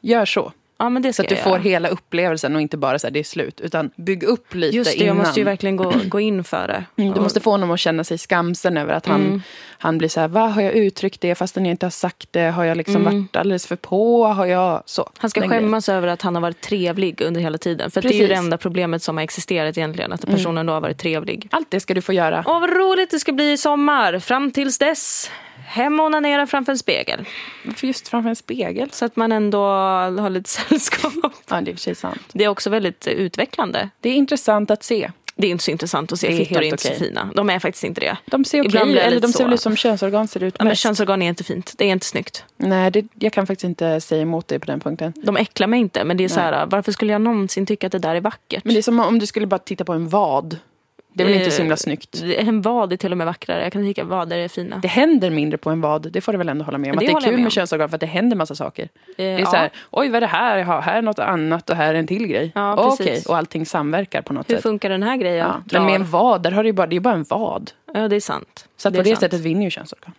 Gör så, ja men det så ska att du jag får göra. hela upplevelsen och inte bara så här, det är slut. Utan bygg upp lite Just det, innan. jag måste ju verkligen gå, gå in för det. Mm. Mm, Du måste få honom att känna sig skamsen över att han, han blir så här, va, har jag uttryckt det fastän jag inte har sagt det? Har jag liksom varit alldeles för på? Har jag så? Mm. Han ska Den grejen. skämmas över att han har varit trevlig under hela tiden. För att det är ju det Precis. Mm. enda problemet som har existerat egentligen. Att personen då har varit trevlig. Allt det ska du få göra. Åh vad roligt det ska bli i sommar. Fram tills dess. Hem och onanera framför en spegel. För just framför en spegel. Så att man ändå har lite [LAUGHS] sällskap. Ja, det är i och för sig sant. Det är också väldigt eh, utvecklande. Det är intressant att se. Det är inte så intressant att se Det är fittor, helt är inte så okej. fina. De är faktiskt inte det. De ser okej Ibland ut, blir jag eller lite de ser så. väl ut som könsorgan ser ut Ja, men mest. könsorgan är inte fint. Det är inte snyggt. Nej, det, jag kan faktiskt inte säga emot dig på den punkten. De äcklar mig inte, men det är så här, varför skulle jag någonsin tycka att det där är vackert? Men det är som om du skulle bara titta på en vad. Det är väl inte så himla Eh, snyggt. En vad är till och med vackrare. Jag kan tycka vader är fina. Det händer mindre på en vad, det får du väl ändå hålla med Det om. att det är håller jag kul med med, om. könsorgan för att det händer massa saker. det är Eh, ja. så här, oj vad är det här jag har, här är något annat och här är en till grej. Ja, Åh, precis. Okej, och allting samverkar på något Hur sätt. funkar den här grejen? Ja. Drar. Men med en vad, där har du ju bara, det är bara en vad. Ja, det är sant. Så att det på är det sant. sättet vinner ju könsorgan.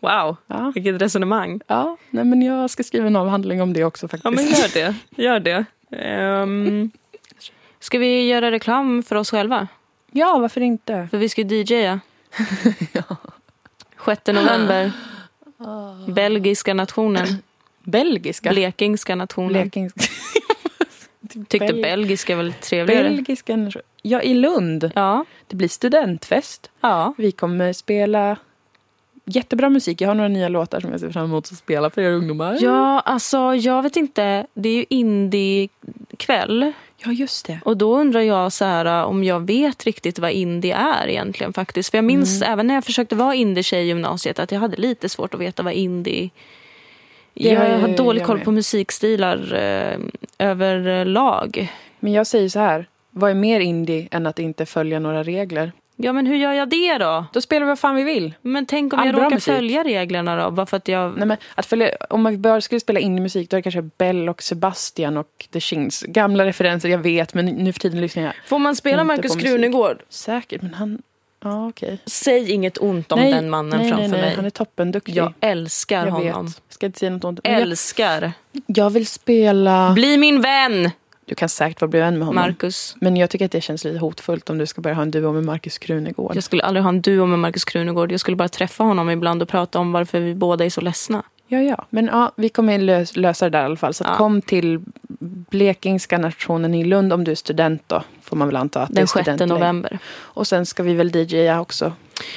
Wow, Ja. vilket resonemang. Ja, nej men jag ska skriva en avhandling om det också faktiskt. Ja, men gör det. Gör det. Ehm. Um, [LAUGHS] ska vi göra reklam för oss själva? [LAUGHS] ja varför inte? För vi ska ju [LAUGHS] DJa. 6 november. Ah. Belgiska nationen. Belgiska. Blekingska nationen. [LAUGHS] Blekingska. Tyckte Bel- belgiska var lite trevligare. Belgiska nation- Ja, i Lund. ja. Det blir studentfest. ja. Vi kommer spela jättebra musik. Jag har några nya låtar som jag ser fram emot att spela för er ungdomar. Ja, alltså jag vet inte. Det är ju indie-kväll. ja just det. Och då undrar jag så här, äh, om jag vet riktigt vad indie är egentligen faktiskt. För jag minns även när jag försökte vara indie-tjej i gymnasiet att jag hade lite svårt att veta vad indie... Det har jag har jag- dålig jag koll med. på musikstilar äh, eh, överlag. Men jag säger så här, vad är mer indie än att inte följa några regler? Ja men hur gör jag det då? Då spelar vi vad fan vi vill. Men tänk om All jag bra råkar musik. följa reglerna då? Bara för att jag... Nej, men att följa, om man bara skulle spela indie-musik då är det kanske Bell och Sebastian och The Shins. Gamla referenser, jag vet, men nu för tiden lyssnar jag Får man spela Inte Markus på musik. Krunegård? säkert. Men han... Ja, okej. Säg inget ont om den mannen nej, framför nej, nej, mig. Han är toppenduktig. Jag älskar jag honom. vet. Ska inte säga något ont. Men Jag, Älskar. jag vill spela... Bli min vän, Du kan säkert vara bli vän med honom. Markus. Men jag tycker att det känns lite hotfullt om du ska börja ha en duo med Markus Krunegård. Jag skulle aldrig ha en duo med Markus Krunegård. Jag skulle bara träffa honom ibland och prata om varför vi båda är så ledsna. Ja, ja. Men ja, vi kommer lös, lösa det där i alla fall. Så att Ja. kom till Blekingska nationen i Lund om du är student då. Får man väl anta att det är Den 6 studentläger. november. Och sen ska vi väl DJa också.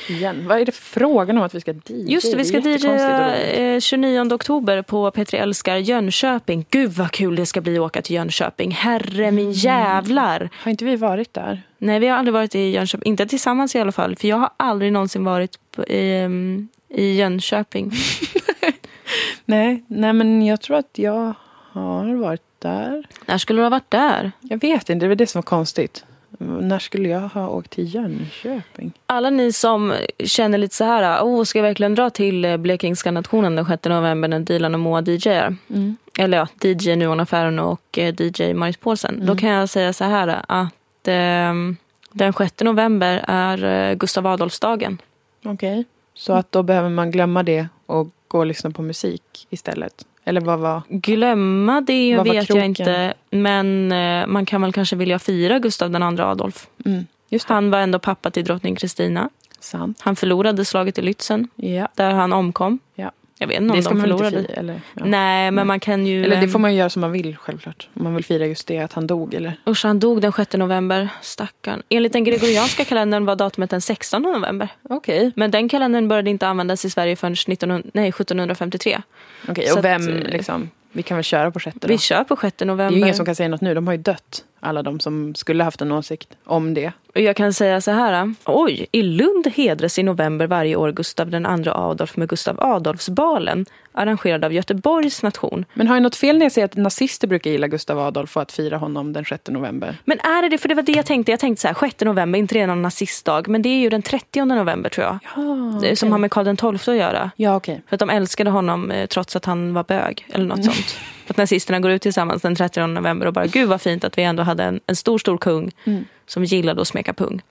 Igen. Vad är det frågan om att vi ska DJa? Just det, vi ska är jättekonstigt och DJa roligt. eh, 29 oktober på P3 Älskar Jönköping. Gud vad kul det ska bli att åka till Jönköping. Herre Mm. min jävlar. Har inte vi varit där? Nej, vi har aldrig varit i Jönköping. Inte tillsammans i alla fall. För jag har aldrig någonsin varit på, i, ehm, i Jönköping. Nej, nej men jag tror att jag har varit där. När skulle du ha varit där? Jag vet inte, det var det som var konstigt. När skulle jag ha åkt till Jönköping? Alla ni som känner lite så här, oh, ska jag verkligen dra till eh, Blekingska nationen den 6 november när Dilan och Moa DJar? Mm. Eller ja, DJ Nuon Affären och eh, DJ Marit Paulsen. Mm. Då kan jag säga så här att ehm, den 6 november är eh, Gustav Adolfsdagen. Okej. Så att då behöver man glömma det och gå och lyssna på musik istället? Eller vad var... Glömma det Vad var vet jag kroken? inte. Men eh, man kan väl kanske vilja fira Gustav den andra Adolf. Mm, just det. Han var ändå pappa till drottning Kristina. Sant. Han förlorade slaget i Lützen Ja. där han omkom. ja. Jag vet inte om Det ska de man väl inte förlorade. fira? Eller, ja. Nej, men man kan ju... eller det ehm, får man ju göra som man vill självklart. Om man vill fira just det att han dog eller? Usch, han dog den 6 november. Stackarn. Enligt den gregorianska kalendern var datumet den 16 november. Okej. Men den kalendern började inte användas i Sverige förrän 1900, nej, 1753. Okej, Så att, och vem eh, liksom? Vi kan väl köra på sjätte då? Vi kör på 6 Det är ju november. ingen som kan säga något nu. De har ju dött. Alla de som skulle haft en åsikt om det. Och jag kan säga så här. Oj, i Lund hedras i november varje år Gustav den andra Adolf med Gustav Adolfsbalen arrangerad av Göteborgs nation. Men har jag något fel när jag säger att nazister brukar gilla Gustav Adolf och att fira honom den 6 november? Men är det det? För det var det jag tänkte. Jag tänkte så här, 6 november, inte redan nazistdag, men det är ju den 30 november tror jag. Det- Som har med Karl XII att göra. Ja, okej. [LAUGHS] För att de älskade honom eh, trots att han var bög eller något sånt. Att nazisterna går ut tillsammans den 30 november och bara gud vad fint att vi ändå hade en, en stor stor kung som gillade att smeka pung.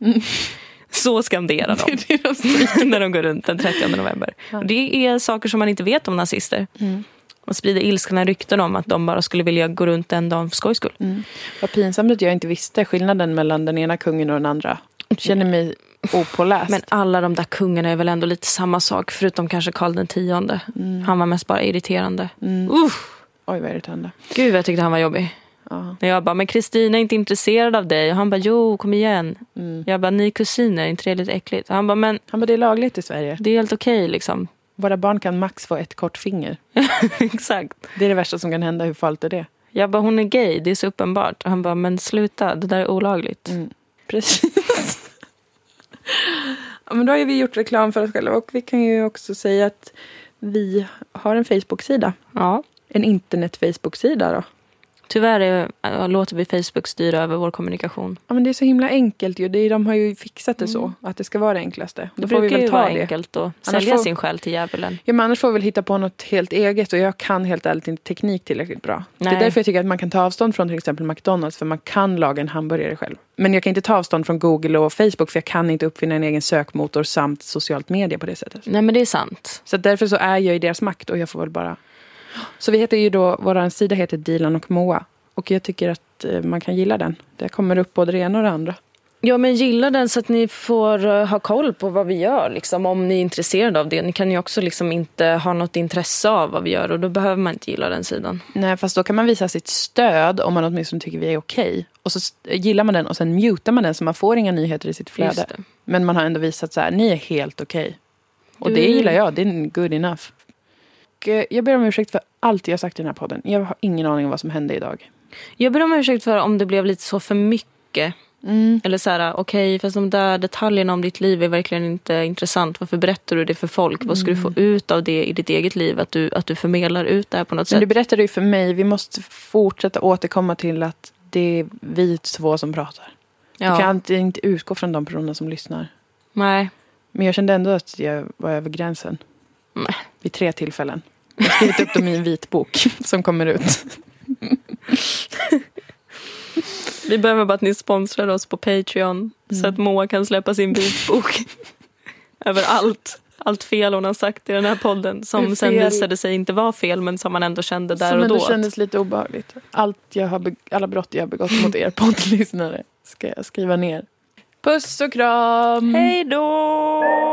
Så skanderar de, [LAUGHS] när de går runt den 30 november. Och Det är saker som man inte vet om nazister. Man sprider ilskna rykten om att de bara skulle vilja gå runt en dag för skojs skull. Vad pinsamt att jag inte visste skillnaden mellan den ena kungen och den andra. Känner mig opåläst. Men alla de där kungarna är väl ändå lite samma sak förutom kanske Karl den tionde. Han var mest bara irriterande. Uff. Mm, Oj, vad irriterande. Gud vad jag tyckte han var jobbig. Ja. När jag bara, men Kristina är inte intresserad av dig. Och han bara, jo kom igen. Jag bara, ni är kusiner, är inte det lite äckligt? Han bara, men mm. Han bara, det är lagligt i Sverige. det är helt okej liksom. [LAUGHS] Våra barn kan max få ett kort finger. Exakt. Det är det värsta som kan hända. Hur farligt är det? Jag bara, hon är gay, det är så uppenbart. Och han bara, men sluta, det där är olagligt. Precis. ja, men då har ju vi gjort reklam för oss själva och vi kan ju också säga att vi har en Facebook-sida. Ja. En internet-Facebook-sida då. Tyvärr är, äh, låter vi Facebook styra över vår kommunikation. Ja, men det är så himla enkelt ju. Det är, de har ju fixat det så, att det ska vara det enklaste. Mm. Det Då får vi brukar väl ju ta vara det. enkelt att sälja får- sin själ till djävulen. Ja, men annars får vi väl hitta på något helt eget och jag kan helt ärligt inte teknik tillräckligt bra. Det Nej. är därför jag tycker att man kan ta avstånd från till exempel McDonalds för man kan laga en hamburgare själv. Men jag kan inte ta avstånd från Google och Facebook för jag kan inte uppfinna en egen sökmotor samt socialt media på det sättet. Nej men det är sant. Så att därför så är jag i deras makt och jag får väl bara... Så vi heter ju då, vår sida heter Dilan och Moa. Och jag tycker att eh, man kan gilla den. Där kommer upp både det ena och det andra. Ja men gilla den så att ni får eh, ha koll på vad vi gör liksom, om ni är intresserade av det. Ni kan ju också liksom inte ha något intresse av vad vi gör och då behöver man inte gilla den sidan. Nej, fast då kan man visa sitt stöd om man åtminstone tycker vi är okej. Och så s- gillar man den och sen mutar man den så man får inga nyheter i sitt flöde. Just det. Men man har ändå visat så här, ni är helt okej. Och Du- det gillar jag, det är good enough. Och, eh, jag ber om ursäkt för allt jag sagt i den här podden. Jag har ingen aning om vad som hände idag. Jag ber om ursäkt för om det blev lite så för mycket. Eller så här, okej, fast de där detaljerna om ditt liv är verkligen inte intressant. Varför berättar du det för folk? Vad ska du få ut av det i ditt eget liv? Att du, att du förmedlar ut det här på något Men sätt. du berättade ju för mig, vi måste fortsätta återkomma till att det är vi två som pratar. ja. Du kan inte- inte utgå från de personer som lyssnar. Nej. Men jag kände ändå att jag var över gränsen. Nej. Vid tre tillfällen. Jag har skrivit upp dem i en vit bok [LAUGHS] som kommer ut. Vi behöver bara att ni sponsrar oss på Patreon så att Moa kan släppa sin [LAUGHS] vitbok över allt. Allt fel hon har sagt i den här podden Det är som sen fel. visade sig inte vara fel men som man ändå kände där som och då. ändå kändes lite obehagligt. Allt jag har be- alla brott jag har begått mot er poddlyssnare ska jag skriva ner. Puss och kram! Hej då!